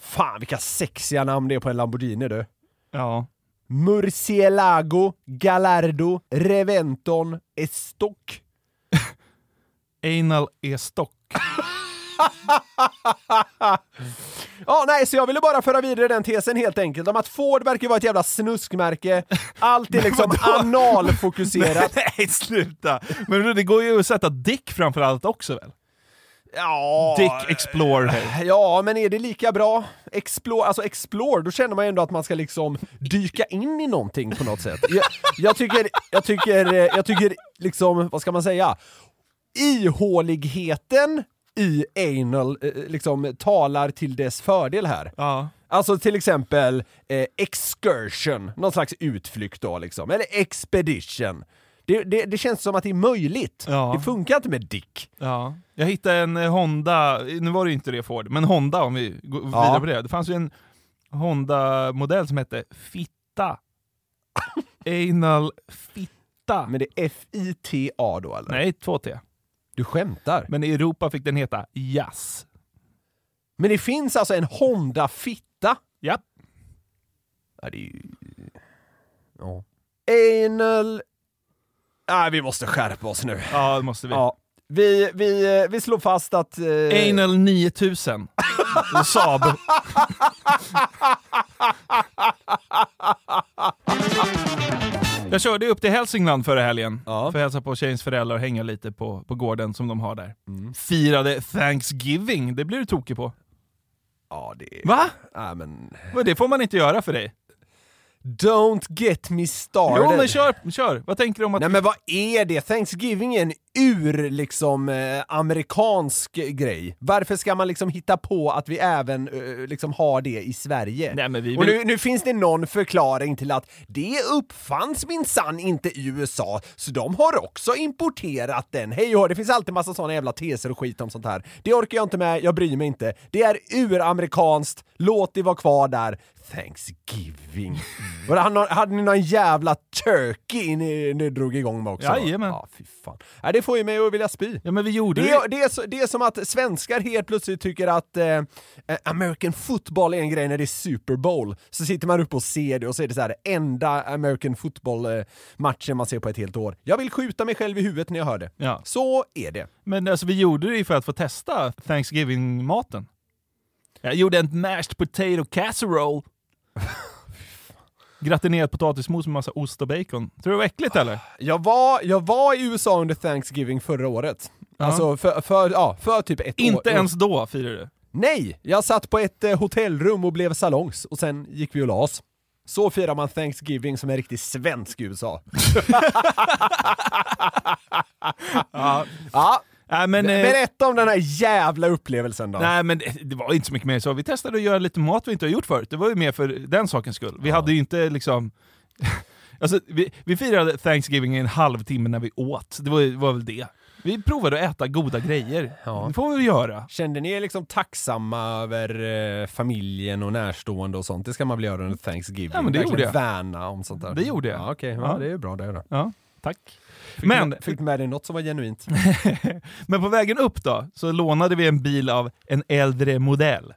Fan vilka sexiga namn det är på en Lamborghini du. Ja. Murcielago, Gallardo, Reventon, Estoc. Anal är stock. Ja, nej, så jag ville bara föra vidare den tesen helt enkelt om att Ford verkar vara ett jävla snuskmärke. Allt är liksom analfokuserat. Nej, sluta! Men det går ju att sätta dick framför allt också väl? Ja, eh, Dick Explorer. ja, men är det lika bra? Explore, alltså explore, då känner man ju ändå att man ska liksom dyka in i någonting på något sätt. Jag, jag tycker, jag tycker, eh, jag tycker liksom, vad ska man säga? Ihåligheten i anal eh, liksom talar till dess fördel här. Ja. Alltså till exempel eh, excursion, någon slags utflykt då liksom, eller expedition. Det, det, det känns som att det är möjligt. Ja. Det funkar inte med Dick. Ja. Jag hittade en eh, Honda, nu var det ju inte det Ford, men Honda om vi går vidare på det. Det fanns ju en Honda-modell som hette Fitta. Anal Fitta. Men det är F-I-T-A då eller? Nej, 2T. Du skämtar? Men i Europa fick den heta Jazz. Men det finns alltså en Honda Fitta? Japp. Ja, det är ju... Ja. Anal... Nej, vi måste skärpa oss nu. Ja, det måste vi. Ja. Vi, vi, eh, vi slår fast att... eh, Anal 9000. Saab. Jag körde upp till Hälsingland förra helgen Ja. för att hälsa på tjejens föräldrar och hänga lite på, på gården som de har där. Mm. Firade Thanksgiving, det blir du tokig på. Ja, det... Va? Nej, men... Men det får man inte göra för dig. Don't get me started. Jo men kör, kör! Vad tänker du om att... Nej men vad är det? Thanksgiving är en ur liksom eh, amerikansk grej. Varför ska man liksom hitta på att vi även eh, liksom har det i Sverige? Nej, men vi Och vill- nu, nu finns det någon förklaring till att det uppfanns minsann inte i USA, så de har också importerat den. Hej och hå, det finns alltid massa såna jävla teser och skit om sånt här. Det orkar jag inte med, jag bryr mig inte. Det är uramerikanskt, låt det vara kvar där. Thanksgiving. Var det, han- hade ni någon jävla turkey ni, ni drog igång med också? Jajamän. Ja, fy fan. Nej, det får ju mig att vilja spy. Ja men vi gjorde Det det. är, det, är så, det är som att svenskar helt plötsligt tycker att eh, eh, American football är en grej när det är Super Bowl. Så sitter man upp och ser det och så är det så här enda American football-matchen man ser på ett helt år. Jag vill skjuta mig själv i huvudet när jag hör det. Ja. Så är det. Men alltså vi gjorde det ju för att få testa Thanksgiving-maten. Jag gjorde en mashed potato casserole. Gratinerad potatismos med massa ost och bacon. Tror du det var äckligt eller? Jag var, jag var i USA under Thanksgiving förra året. Alltså för, för, ja, för typ ett år. Inte ens då firade du. Nej! Jag satt på ett eh, hotellrum och blev salongs och sen gick vi och la oss. Så firar man Thanksgiving som en riktig svensk i USA. ja. Nej men, eh, Berätta om den här jävla upplevelsen då. nej men det var inte så mycket mer så. Vi testade att göra lite mat vi inte har gjort förut. Det var ju mer för den sakens skull. Vi hade ju inte liksom... Alltså, vi, vi firade Thanksgiving i en halvtimme när vi åt. Det var, ju- var väl det. Vi provade att äta goda grejer. Det får vi väl göra. Kände ni er liksom tacksamma över eh, familjen och närstående och sånt? Det ska man väl göra under Thanksgiving? Ja, men det Verkligen gjorde värna om sånt där. Det gjorde jag. Ja, okej. Ja, Ja. Det är ju bra det då. Ja, tack. Fick Men- du- Fick du med dig något som var genuint? Men på vägen upp då, så lånade vi en bil av en äldre modell.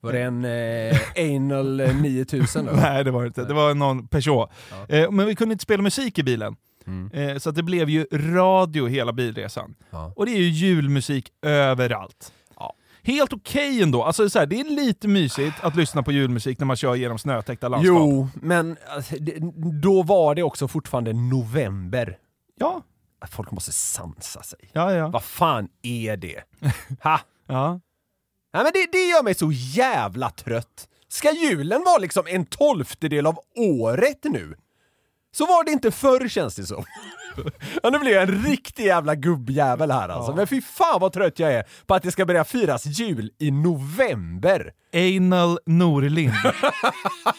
Var det en eh, anal 9000 då? Nej, det var det inte. Det var någon Peugeot. Eh, men vi kunde inte spela musik i bilen. Mm. Eh, så att det blev ju radio hela bilresan. Ja. Och det är ju julmusik överallt. Helt okej ändå. Alltså, så här, det är lite mysigt att lyssna på julmusik när man kör genom snötäckta landskap. Jo, men alltså, det, då var det också fortfarande november. Ja, Folk måste sansa sig. ja, ja. Vad fan är det? Ha! ja. Nej, men det, det gör mig så jävla trött. Ska julen vara liksom en tolftedel av året nu? Så var det inte förr känns det som. Ja, nu blir jag en riktig jävla gubbjävel här alltså. Men fy fan vad trött jag är på att det ska börja firas jul i november. Anal Norlind.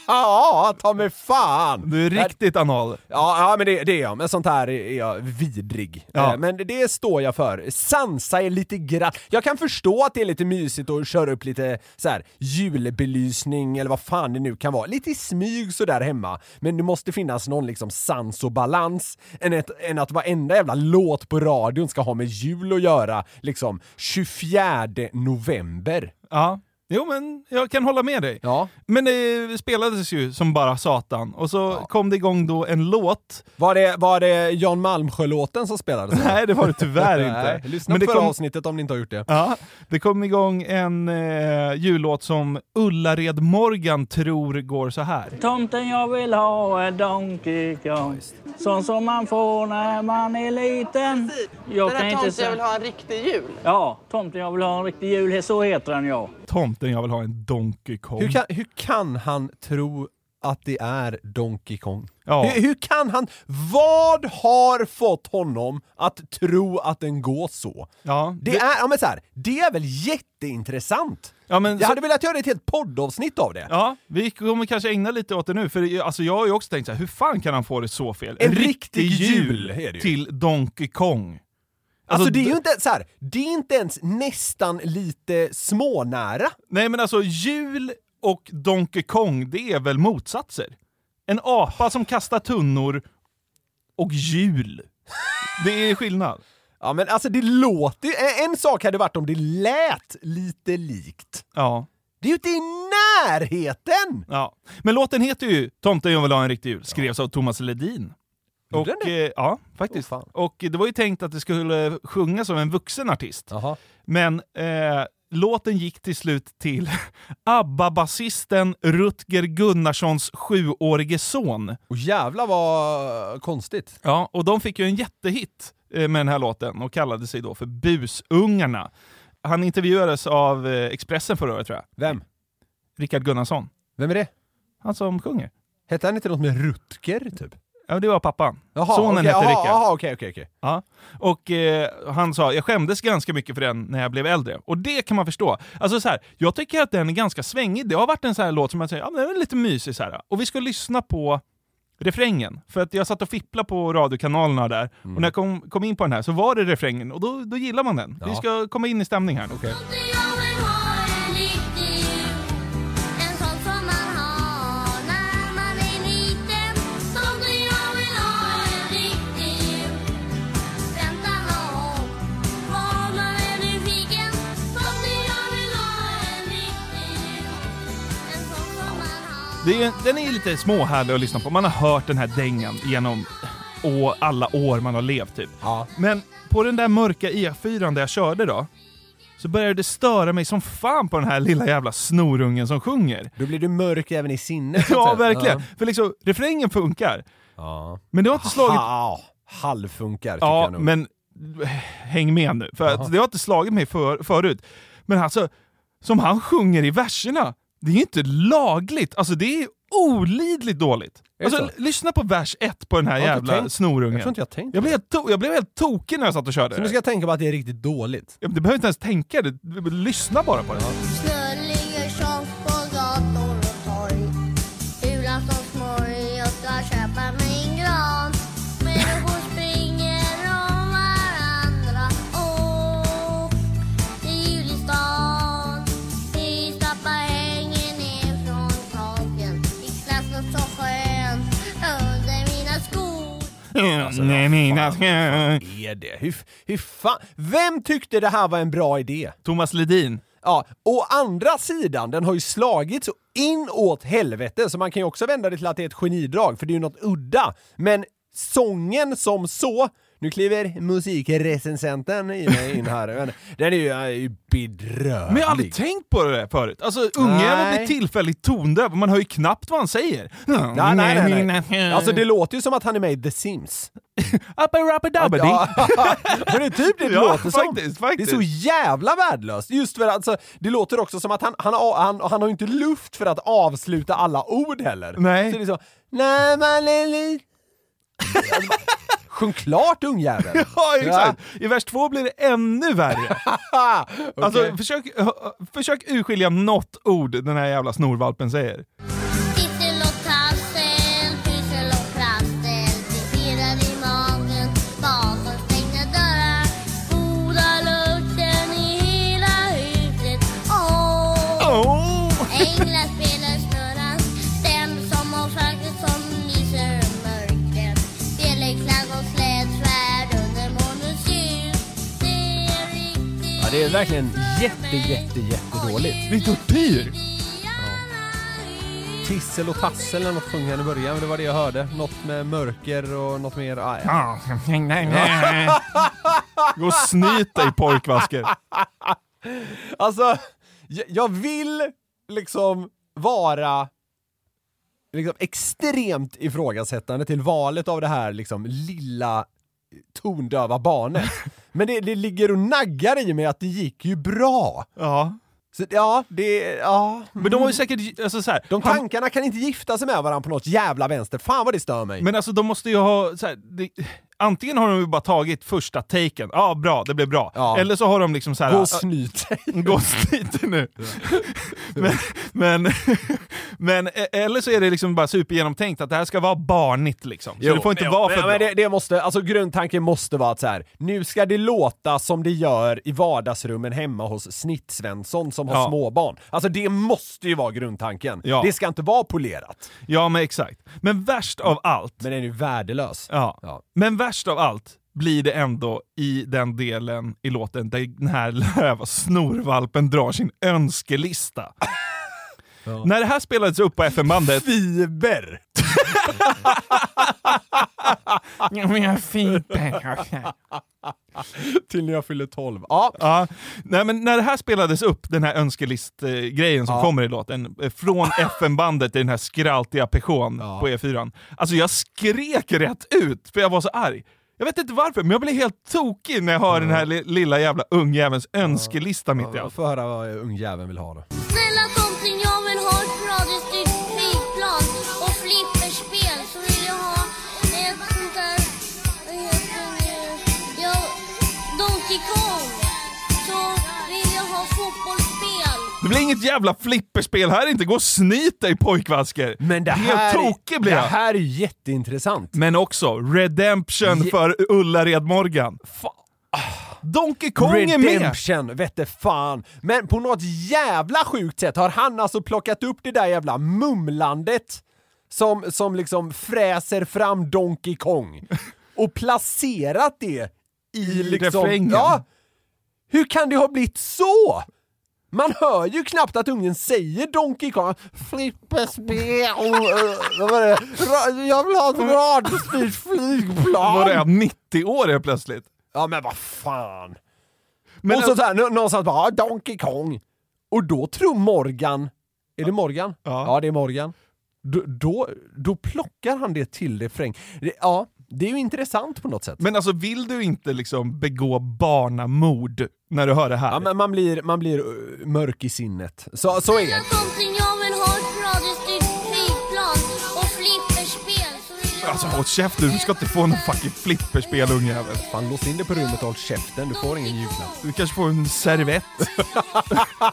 Ja, ta mig fan! Du är Nej, riktigt anal. Ja, ja men det, det är jag. Men sånt här är jag vidrig. Ja. Eh, Men det står jag för. Sansa är lite grann... Jag kan förstå att det är lite mysigt att köra upp lite så här julbelysning eller vad fan det nu kan vara. Lite i smyg så där hemma. Men det måste finnas någon liksom sans och balans. Än, ett, än att varenda jävla låt på radion ska ha med jul att göra liksom 24 november. Ja. Jo, men jag kan hålla med dig. Ja. Men det spelades ju som bara satan. Och så kom det igång då en låt. Var det, var det Jan Malmsjö-låten som spelades? Nej, det var det tyvärr Nej, inte. Lyssna men på det förra kom, avsnittet om ni inte har gjort det. ja, det kom igång en eh, jullåt som Ullared Morgan tror går så här. Tomten jag vill ha är Donkey Kong. Sån som man får när man är liten. Jag kan inte säga... ha en riktig jul. Ja, Tomten jag vill ha en riktig jul. Så heter den ja. Tomten jag vill ha en Donkey Kong. Hur kan, hur kan han tro att det är Donkey Kong? Ja. Hur, hur kan han? Vad har fått honom att tro att den går så? Ja, Det, det- är, ja, men så här, det är väl jätteintressant? Ja, men Jag så- hade velat göra ett helt poddavsnitt av det. Ja, alltså vi kommer kanske ägna lite åt det nu, för alltså, jag har ju också tänkt så här, hur fan kan han få det så fel? En riktig jul är det ju. till Donkey Kong. Alltså, det är d- ju inte så här, det är inte ens nästan lite smånära. Nej men alltså jul och Donkey Kong, det är väl motsatser? En apa som kastar tunnor och jul. Det är skillnad. Ja men alltså det låter ju- en, en sak hade varit om det lät lite likt. Ja. Det är ju inte i närheten! ja. Men låten heter ju Tomten jag vill ha en riktig jul, skrevs av Thomas Ledin. Gjorde den Och, eh, ja, faktiskt. Åh, fan. och det var ju tänkt att det skulle sjungas av en vuxen artist. Jaha. Men eh, låten gick till slut till ABBA-basisten Rutger Gunnarssons sjuårige son. Och jävla vad konstigt. Ja, och de fick ju en jättehit eh, med den här låten och kallade sig då för Busungarna. Han intervjuades av eh, Expressen förra året tror jag. Vem? Rickard Gunnarsson. Vem är det? Han som sjunger. Hette han inte något med Rutger, typ? Ja, det var pappan. Jaha, Sonen okej, hette jaha, Rickard. Jaha, okej, okej, okej. Ja. Och eh, han sa, jag skämdes ganska mycket för den när jag blev äldre. Och det kan man förstå. Alltså så här, jag tycker att den är ganska svängig. Det har varit en så här låt som man säger, ja men den är lite mysig så här. Och vi ska lyssna på refrängen. För att jag satt och fipplade på radiokanalerna där. Och när jag kom, kom in på den här så var det refrängen. Och då, då gillar man den. Vi ska komma in i stämning här. Okay. Det är, ju- den är ju lite småhärlig att lyssna på. Man har hört den här dängen genom å, alla år man har levt typ. Ja. Men på den där mörka E4 där jag körde då, så började det störa mig som fan på den här lilla jävla snorungen som sjunger. Då blir du mörk även i sinnet. så att Ja, säga. verkligen. För liksom, refrängen funkar. Ja. Men det har inte slagit... Ha, halvfunkar, tycker Ja, jag nog. men häng med nu. För att det har inte slagit mig för, förut. Men alltså, som han sjunger i verserna, det är ju inte lagligt. Alltså det är olidligt dåligt. det Alltså, så? l- lyssna på vers ett på den här Jag har inte jävla tänkt- snorungen. Jag tror inte jag har tänkt Jag blev, helt to- jag blev helt tokig när jag satt och körde Så nu det. ska jag tänka på att det är riktigt dåligt. Du behöver inte ens tänka, det. Du behöver lyssna bara på det. Alltså, Snurrliga tjong på gator och torg. Julaftonsmorgon, jag ska köpa min gran. Människor springer om varandra och i julistan. Vi stappar hängen ner från taken. I klassen så skönt under mina skor. Nej, mina skö- Är det? Hur, hur fan? Vem tyckte det här var en bra idé? Thomas Ledin. Ja, å andra sidan, den har ju slagit så in åt helvete, så man kan ju också vända det till att det är ett genidrag, för det är ju något udda. Men sången som så, nu kliver musikrecensenten i mig in här, men den är ju, är ju bedrövlig. Men jag har aldrig tänkt på det där förut. Alltså ungjäveln Nej. blir tillfälligt tondöv och man hör ju knappt vad han säger. Nej, nej, nej, nej. Alltså det låter ju som att han är med i The Sims. Uppa rappa dabba Ja, men det är typ det det Ja, låter som. faktiskt, faktiskt. Det är så jävla värdelöst. Just för att alltså, det låter också som att han, han, har- han, han har ju inte luft för att avsluta alla ord heller. Nej. Så det är så, när man är li-" Sjung klart ungjävel! Ja, exakt! I vers två blir det ännu värre. Okej. Alltså, försök, försök urskilja något ord den här jävla snorvalpen säger. Fiffel och tassel, pyssel och prassel Det pirrar i magen bakom stängda dörrar Goda lukten i hela huset Åh! Änglar spelar snurran Stäm som och flaggor som lyser i mörkret Speleklang och slädsvärd under månens ljus Det är riktigt Ja, det är verkligen jätte, jätte, jättedåligt. Det är tortyr! Tissel och tassel eller något sjöng han i början, men det var det jag hörde. Något med mörker och något mer... Ah, ja. Ah, nej, nej, nej. Gå och snyt dig pojkvasker. Alltså, jag, jag vill liksom vara liksom extremt ifrågasättande till valet av det här liksom lilla tondöva barnet. Men det, det ligger och naggar i mig att det gick ju bra. Ja. Så, ja, det... Ja. Men de har ju säkert... Alltså, så här, De han- tankarna kan inte gifta sig med varandra på något jävla vänster. Fan vad det stör mig. Men alltså de måste ju ha... Så här, det, antingen har de ju bara tagit första taken, ja ah, bra, det blev bra. Ja. Eller så har de liksom så här... Gå ah, och snyt dig. Gå och snyt dig nu. men, men, men, e- eller så är det liksom bara supergenomtänkt att det här ska vara barnigt liksom. Så det får inte men- vara för men, men bra. det, det måste, alltså grundtanken måste vara att så här, nu ska det låta som det gör i vardagsrummen hemma hos Snitt-Svensson som har Ja. småbarn. Alltså det måste ju vara grundtanken. Ja. Det ska inte vara polerat. Ja men exakt. Men värst av allt, Men den är ju värdelös. ja. Ja. men värst av allt blir det ändå i den delen i låten där den här löva snorvalpen drar sin önskelista. När det här spelades upp på FM-bandet Fiber! Ja, men jag fiber. Till när jag fyller 12. Ja. Ja, nej, men när det här spelades upp, den här önskelist-grejen som kommer i låten, eh, från FN-bandet i den här skraltiga Peugeon på E4. Alltså jag skrek rätt ut, för jag var så arg. Jag vet inte varför, men jag blev helt tokig när jag hör den här li- lilla jävla ungjävelns önskelista mitt i Jag allt. får höra vad ungjäveln vill ha då. Snälla tomten, jag vill ha ett radiostyrt flygplan och flipperspel. Så vill jag ha ett sånt där... Vad heter det? Ja, Donkey Kong. Så vill jag ha fotbollsspel. Det blir inget jävla flipperspel här inte, gå och snyt dig pojkvasker! Men det Helt här, tokig blir det jag! här är ju jätteintressant. Men också Redemption Je- för Ullared Morgan. Donkey Kong är med! Redemption, vette fan. Men på något jävla sjukt sätt har han alltså plockat upp det där jävla mumlandet som, som liksom fräser fram Donkey Kong och placerat det i, I liksom... refrängen. Ja! Hur kan det ha blivit så? Man hör ju knappt att ungen säger Donkey Kong. Flipperspel! eh, vad var det? Ra- Jag vill ha ett radiostyrt flygplan! Var det 90 år helt plötsligt? Ja men vad fan! Men alltså- och så såhär, nå- någonstans bara "Ah, Donkey Kong. Och då tror Morgan, är det Morgan? Ja. det är Morgan. Då, då, då plockar han det till refräng. Det, ja, det är ju intressant på något sätt. Men alltså vill du inte liksom begå barnamord när du hör det här? ja, men man blir, man blir uh, mörk i sinnet. Så, så är det. Snälla tomten, jag vill ha ett radiostyrt flygplan och flipperspel. Så vill jag Alltså ha... håll käften, du ska inte få någon fucking flipperspel ungjävel. Fan, lås in dig på rummet och håll käften. Du får ingen julklapp. Du kanske får en servett.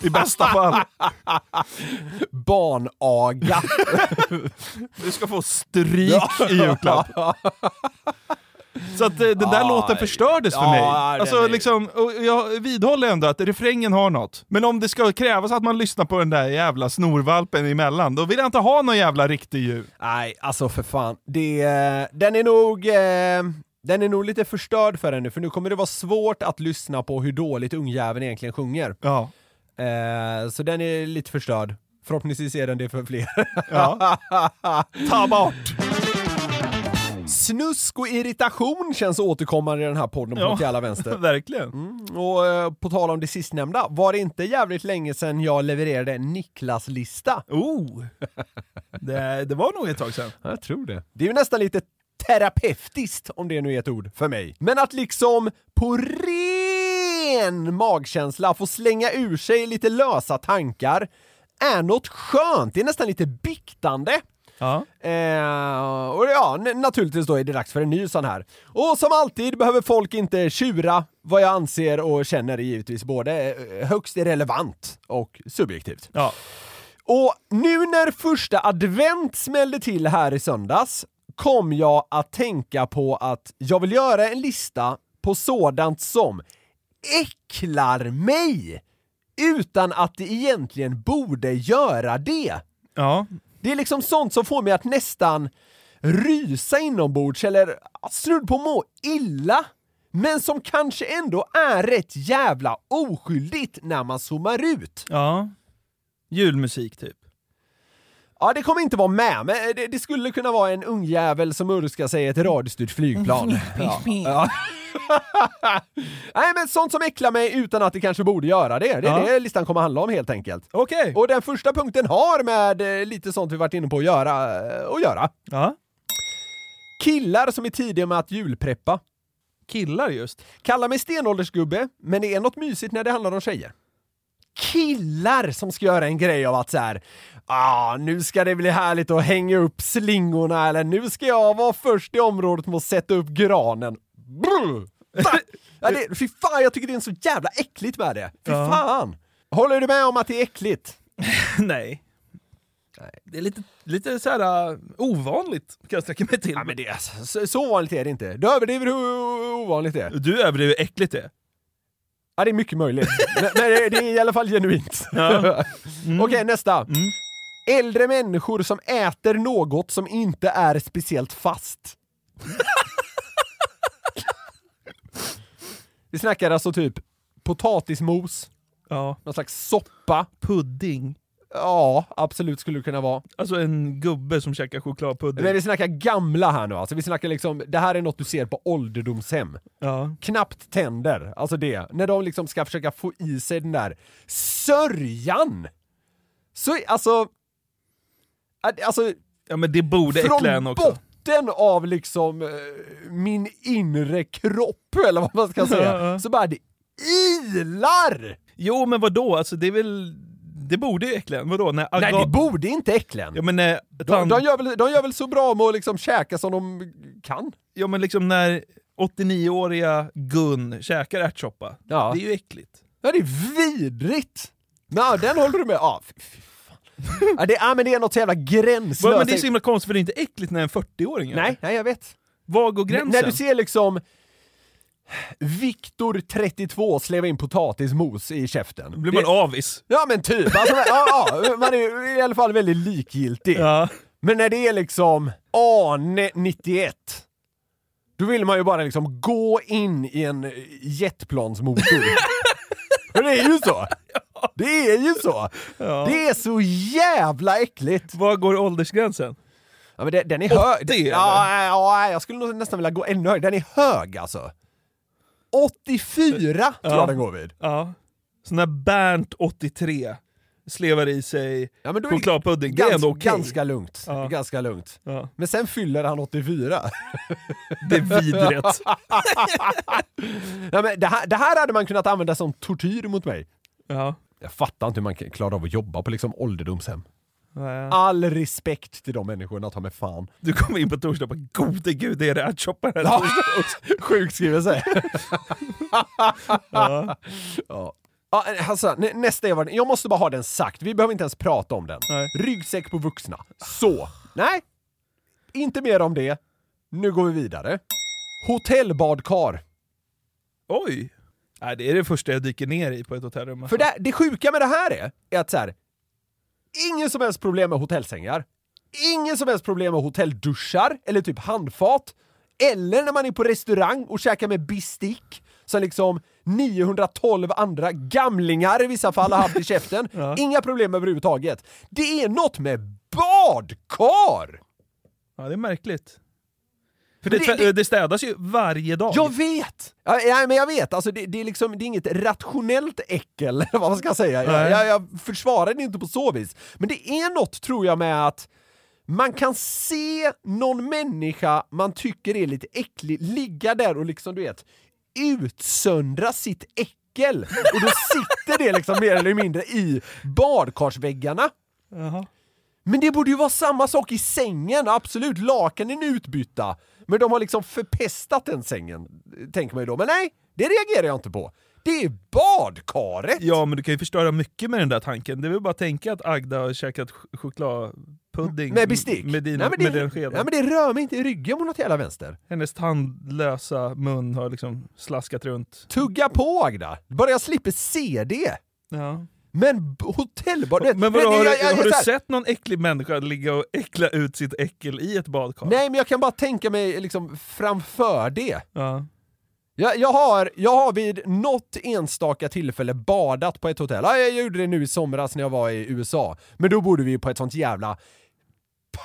I bästa fall. Barnaga. Du ska få stryk i julklapp. Så att eh, den där Ja, låten förstördes för ja, mig. den Alltså är- liksom, och jag vidhåller ändå att refrängen har något. Men om det ska krävas att man lyssnar på den där jävla snorvalpen emellan, då vill jag inte ha någon jävla riktig ljud. Nej, alltså för fan. Det, eh, den är nog... Eh, den är nog lite förstörd för henne, för nu kommer det vara svårt att lyssna på hur dåligt ungjäveln egentligen sjunger. Ja. Eh, så den är lite förstörd. Förhoppningsvis är den det för fler. ja. Ta bort! Snusk och irritation känns återkommande i den här podden på Ja. något jävla vänster. Verkligen. Och eh, på tal om det sistnämnda, var det inte jävligt länge sedan jag levererade en Niklas-lista? Oh! Det, det var nog ett tag sedan. Jag tror det. Det är ju nästan lite terapeutiskt, om det nu är ett ord för mig. Men att liksom på ren magkänsla få slänga ur sig lite lösa tankar är något skönt. Det är nästan lite biktande. Eh, och ja, n- naturligtvis då är det dags för en ny sån här. Och som alltid behöver folk inte tjura. Vad jag anser och känner är givetvis både eh, högst irrelevant och subjektivt. Och nu när första advent smällde till här i söndags kom jag att tänka på att jag vill göra en lista på sådant som äcklar mig utan att det egentligen borde göra det. Ja. Det är liksom sånt som får mig att nästan rysa inombords eller snudd på må illa. Men som kanske ändå är rätt jävla oskyldigt när man zoomar ut. Ja. Julmusik typ. Ja, det kommer inte vara med, men eh, det, det skulle kunna vara en ungjävel som urskar sig i ett radiostyrt flygplan. Ja. Ja. Nej, men sånt som äcklar mig utan att det kanske borde göra det. Det är Ja. det listan kommer handla om helt enkelt. Okej. Och den första punkten har med eh, lite sånt vi varit inne på att göra. eh, Att göra. Ja. Killar som är tidiga med att julpreppa. Killar just. Kalla mig stenåldersgubbe, men det är något mysigt när det handlar om tjejer. Killar som ska göra en grej av att så här, ah, nu ska det bli härligt att hänga upp slingorna eller nu ska jag vara först i området med att sätta upp granen. Brr! Va? Ja, det, fy fan, jag tycker det är så jävla äckligt med det. Fy Ja. fan! Håller du med om att det är äckligt? Nej. Det är lite, lite så här uh, ovanligt kan jag sträcka mig till. Ja, men det alltså- Så, så vanligt är det inte. Du överdriver hur ovanligt det är. Du överdriver hur äckligt det är. Ja, det är mycket möjligt. Men men det, det är i alla fall genuint. Ja. Okej, nästa. Äldre människor som äter något som inte är speciellt fast. Vi snackar alltså typ potatismos, ja. någon slags soppa. Pudding. Ja, absolut skulle det kunna vara. Alltså en gubbe som käkar chokladpudding. Men vi snackar gamla här nu alltså. Vi snackar liksom, det här är något du ser på ålderdomshem. Ja. Knappt tänder, alltså det. När de liksom ska försöka få i sig den där sörjan! Så, alltså... att- Alltså... Ja men det borde äckla en också. Från botten av liksom eh, min inre kropp, eller vad man ska Ja, säga, ja. så bara det ilar! Jo men vadå, alltså det är väl... Det borde ju äckla en. Vadå? När Nej, aga- det borde inte äckla en. Ja men när... De, tand- de, gör väl, de gör väl så bra med att liksom käka som de kan? Ja men liksom när 89-åriga Gun käkar ärtsoppa. Ja. Det är ju äckligt. Ja, det är vidrigt! Nej, den håller du med? Ja, fy- fy fan. Ja, det, ja, men det är något så jävla gränslöst. Va, men det är så himla konstigt för det är inte äckligt när en 40-åring gör Nej, det. nej jag vet. Var går N- gränsen? när du ser liksom Viktor 32 sleva in potatismos i käften. blir man det, avis. Ja men typ, alltså, ja, ja, man är i alla fall väldigt likgiltig. Ja. Men när det är liksom Arne 91, då vill man ju bara liksom gå in i en jetplansmotor. För det är ju så! Det är ju så! Det är så jävla äckligt! Var går åldersgränsen? Ja, men den, den är 80, hög. Den- eller? Ja, ja, ja, jag skulle nog nästan vilja gå ännu högre. Den är hög alltså. 84 tror Ja. jag den går vid. Ja. Så när Bernt, 83, slevar i sig Ja, men då är det chokladpudding, det är Gans, ändå okej. Ganska lugnt. Ja. Ganska lugnt. Ja. Men sen fyller han 84. Det är vidrigt. Nej, men det, här, det här hade man kunnat använda som tortyr mot mig. ja. Jag fattar inte hur man kan- klarar av att jobba på liksom ålderdomshem. Ja. All respekt till de människorna, ta mig fan. Du kommer in på torsdag och bara gode gud, det är det ärtsoppa här Ja. torsdag." Sjukskrivelse. Ja. Ja. Ja, alltså, nä- nästa är vad Jag måste bara ha den sagt. Vi behöver inte ens prata om den. Nej. Ryggsäck på vuxna. Så. Nej. Inte mer om det. Nu går vi vidare. Hotellbadkar. Oj! Nej, det är det första jag dyker ner i på ett hotellrum. alltså. För det, det sjuka med det här är, är att så här, ingen som helst problem med hotellsängar, ingen som helst problem med hotellduschar eller typ handfat, eller när man är på restaurang och käkar med bestick som liksom 912 andra gamlingar i vissa fall har haft i käften. Inga problem överhuvudtaget. Det är något med badkar! Ja, det är märkligt. För det, Men det- tvä- det- det städas ju varje dag. Jag vet! Ja, nej, men jag vet, alltså, det, det, är liksom, det är inget rationellt äckel, eller vad man ska säga. Jag, Nej. jag, jag försvarar det inte på så vis. Men det är något, tror jag, med att man kan se någon människa man tycker är lite äcklig ligga där och liksom, du vet, utsöndra sitt äckel. Och då sitter det liksom mer eller mindre i badkarsväggarna. Jaha. Men det borde ju vara samma sak i sängen, absolut, lakanen är utbytta. Men de har liksom förpestat den sängen, tänker man ju då. Men nej, det reagerar jag inte på. Det är badkaret! Ja, men du kan ju förstöra mycket med den där tanken. Det är väl bara att tänka att Agda har käkat ch- chokladpudding Med bestick? Med, dina, nej, men det, med den skeden. nej men det rör mig inte i ryggen på något jävla vänster. Hennes tandlösa mun har liksom slaskat runt. Tugga på Agda! Bara jag slipper se det! Ja. Men b- hotellbad... du vet- Men vadå, jag- har, jag- jag- du- har jag- du så här- sett någon äcklig människa ligga och äckla ut sitt äckel i ett badkar? Nej, men jag kan bara tänka mig liksom framför det. Ja. Jag, jag, har, jag har vid något enstaka tillfälle badat på ett hotell. Ja, jag gjorde det nu i somras när jag var i USA. Men då bodde vi på ett sånt jävla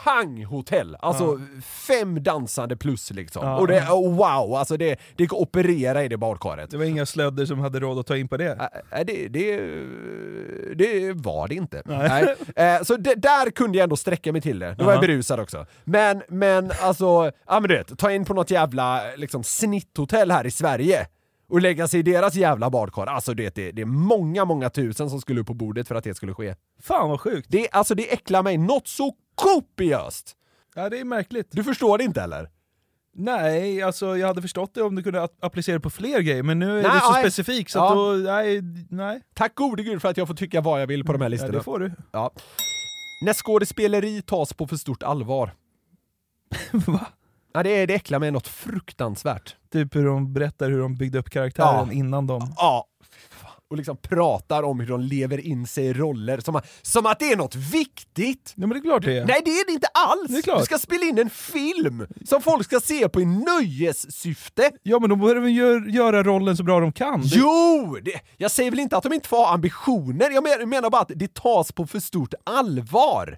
panghotell. Alltså fem dansande plus liksom. Ja. Och det, oh, wow, alltså det, det går att operera i det badkaret. Det var inga slödder som hade råd att ta in på det. Nej, Äh, det, det, det var det inte. Nej. Eh, Så det, där kunde jag ändå sträcka mig till det. Då var jag Aha. berusad också. Men, men alltså, ja men du vet, ta in på något jävla liksom, snitthotell här i Sverige och lägga sig i deras jävla badkar. Alltså du vet, det, det är många, många tusen som skulle upp på bordet för att det skulle ske. Fan vad sjukt. Det, alltså det äcklar mig något så kopiöst! Ja, det är märkligt. Du förstår det inte eller? Nej, alltså jag hade förstått det om du kunde ap- applicera det på fler grejer, men nu är Nej, du så nej. specifik så Ja. att då, nej, nej. Tack gode gud för att jag får tycka vad jag vill på de här Mm. Ja, listorna. det får du. Ja. När skådespeleri tas på för stort allvar. Va? Ja, det, är- det äcklar mig något fruktansvärt. Typ hur de berättar hur de byggde upp karaktären Ja. innan de... Ja, fy fan. och liksom pratar om hur de lever in sig i roller som, som att det är något viktigt. Ja men det är klart det är. Nej, det är det inte alls! Det är klart. Du ska spela in en film som folk ska se på i nöjessyfte. Ja men då behöver de gör, göra rollen så bra de kan. Det- Jo! Det, jag säger väl inte att de inte får ha ambitioner, jag men- menar bara att det tas på för stort allvar.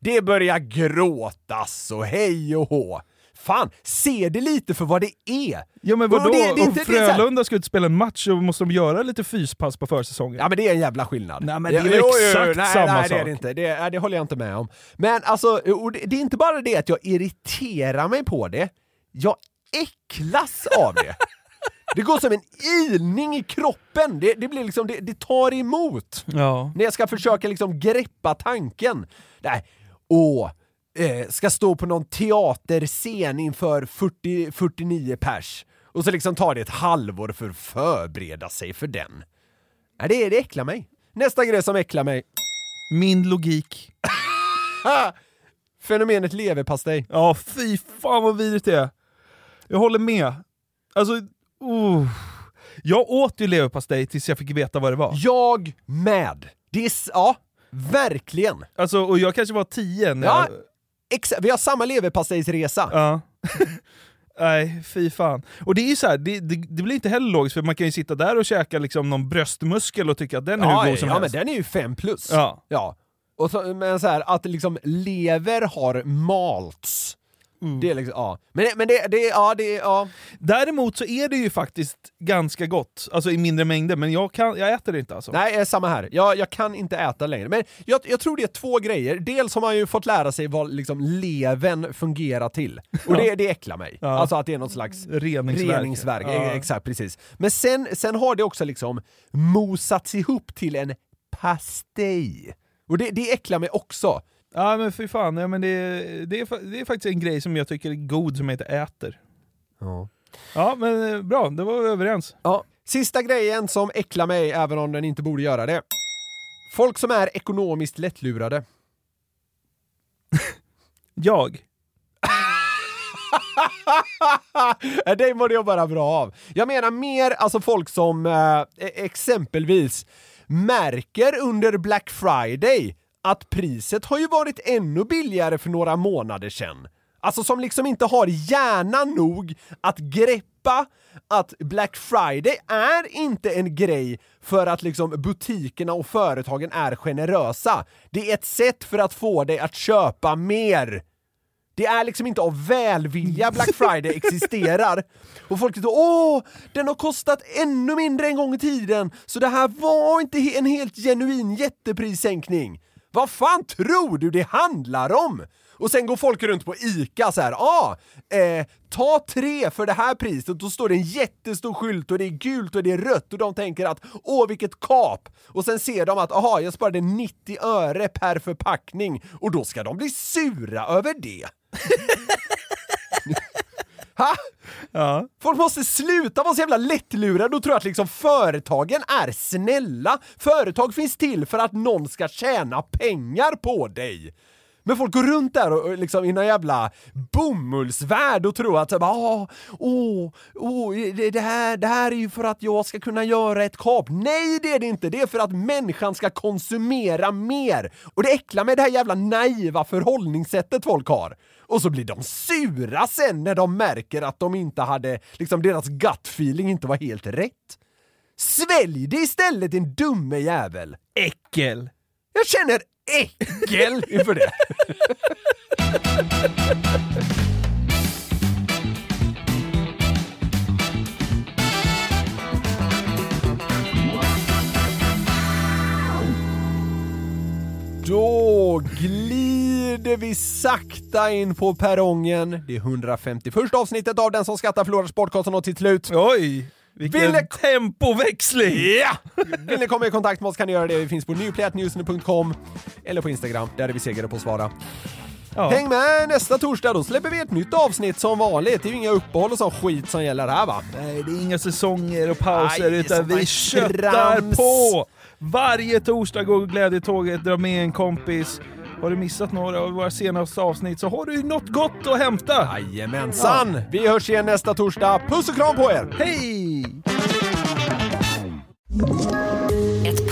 Det börjar gråtas och hej och hå. Fan, se det lite för vad det är. Ja men Och vadå? det- det är Om inte- det är så här- Frölunda ska ut och spela en match så måste de göra lite fyspass på försäsongen. Ja men det är en jävla skillnad. Nej, men det är ju Jo, jo, exakt nej, samma nej, det är sak. det inte. Det, nej, det håller jag inte med om. Men alltså, och det, det är inte bara det att jag irriterar mig på det. Jag äcklas av det. Det går som en ilning i kroppen. Det, det blir liksom, det, det tar emot. Ja. När jag ska försöka liksom greppa tanken. Nej, åh, eh, ska stå på någon teaterscen inför 40, 49 pers. Och så liksom tar det ett halvår för att förbereda sig för den. Nej, det, det äcklar mig. Nästa grej som äcklar mig. Min logik. Ha! Fenomenet leverpastej. Ja fy fan vad vidrigt det är. Jag håller med. Alltså, uh. Jag åt ju leverpastej tills jag fick veta vad det var. Jag med. Det är, s- ja, verkligen. Alltså, och jag kanske var tio när Ja, jag... exa- vi har samma leverpastejsresa. Ja. Nej, fy fan. Och det är ju så här, det, det, det blir inte heller logiskt, för man kan ju sitta där och käka liksom någon bröstmuskel och tycka att den är hur god som ja men helst. den är ju 5 plus. Ja. Ja. Och så, men så här, att liksom lever har malts. Mm. Det är liksom, ja. Men, det- men det, det, ja, det, ja. Däremot så är det ju faktiskt ganska gott, alltså i mindre mängder, men jag, kan, jag äter det inte alltså. Nej, eh, samma här. Jag, jag kan inte äta längre. Men jag, jag tror det är två grejer. Dels har man ju fått lära sig vad liksom levern fungerar till. Och det, det äcklar mig. Ja. Alltså att det är något slags Reningsverk. reningsverk. Ja. Eh, Exakt, precis. Men sen, sen har det också liksom mosats ihop till en pastej. Och det, det äcklar mig också. Ja men fy fan, ja, men det, det, är, fa- det är faktiskt en grej som jag tycker är god som jag inte äter. Ja. Ja men eh, bra, då var vi överens. Ja. Sista grejen som äcklar mig, även om den inte borde göra det. Folk som är ekonomiskt lättlurade. Jag? Nej, det mådde jag bara bra av. Jag menar mer alltså folk som eh, exempelvis märker under Black Friday att priset har ju varit ännu billigare för några månader sedan. Alltså som liksom inte har hjärna nog att greppa att Black Friday är inte en grej för att liksom butikerna och företagen är generösa. Det är ett sätt för att få dig att köpa mer. Det är liksom inte av välvilja Black Friday existerar. Och folk tror åh, den har kostat ännu mindre en gång i tiden, så det här var inte he- en helt genuin jätteprissänkning. Vad fan tror du det handlar om? Och sen går folk runt på ICA så här, ah, eh, ta tre för det här priset. Då står det en jättestor skylt och det är gult och det är rött och de tänker att åh vilket kap! Och sen ser de att aha, jag sparade 90 öre per förpackning och då ska de bli sura över det. Ha? Folk måste sluta vara så jävla lättlurade och tro att liksom företagen är snälla. Företag finns till för att någon ska tjäna pengar på dig. Men folk går runt där och, och liksom i någon jävla bomullsvärld och tror att så bara, "Ah, åh, åh, det, det, här, det här är ju för att jag ska kunna göra ett kap. Nej, det är det inte. Det är för att människan ska konsumera mer. Och det äcklar med det här jävla naiva förhållningssättet folk har. Och så blir de sura sen när de märker att de inte hade, liksom deras gut feeling inte var helt rätt. Svälj det istället din dumme jävel! Äckel! Jag känner äckel inför det. Då glider vi sakta in på perrongen. Det är 151 avsnittet av Den som skrattar förlorar sportkonton och till slut... Oj! Vilken tempoväxling! Ja! Vill ni komma i kontakt med oss kan ni göra det. Vi finns på nyplayatnewsny.com eller på Instagram. Där är vi segare på att svara. Häng med nästa torsdag, då släpper vi ett nytt avsnitt som vanligt. Det är ju inga uppehåll och sån skit som gäller här va? Nej, det är inga säsonger och pauser, Aj, utan sånt där vi köttar trams. på! Varje torsdag går glädjetåget, dra med en kompis. Har du missat några av våra senaste avsnitt så har du ju något gott att hämta! Jajamensan! Vi hörs igen nästa torsdag. Puss och kram på er! Hej! Ett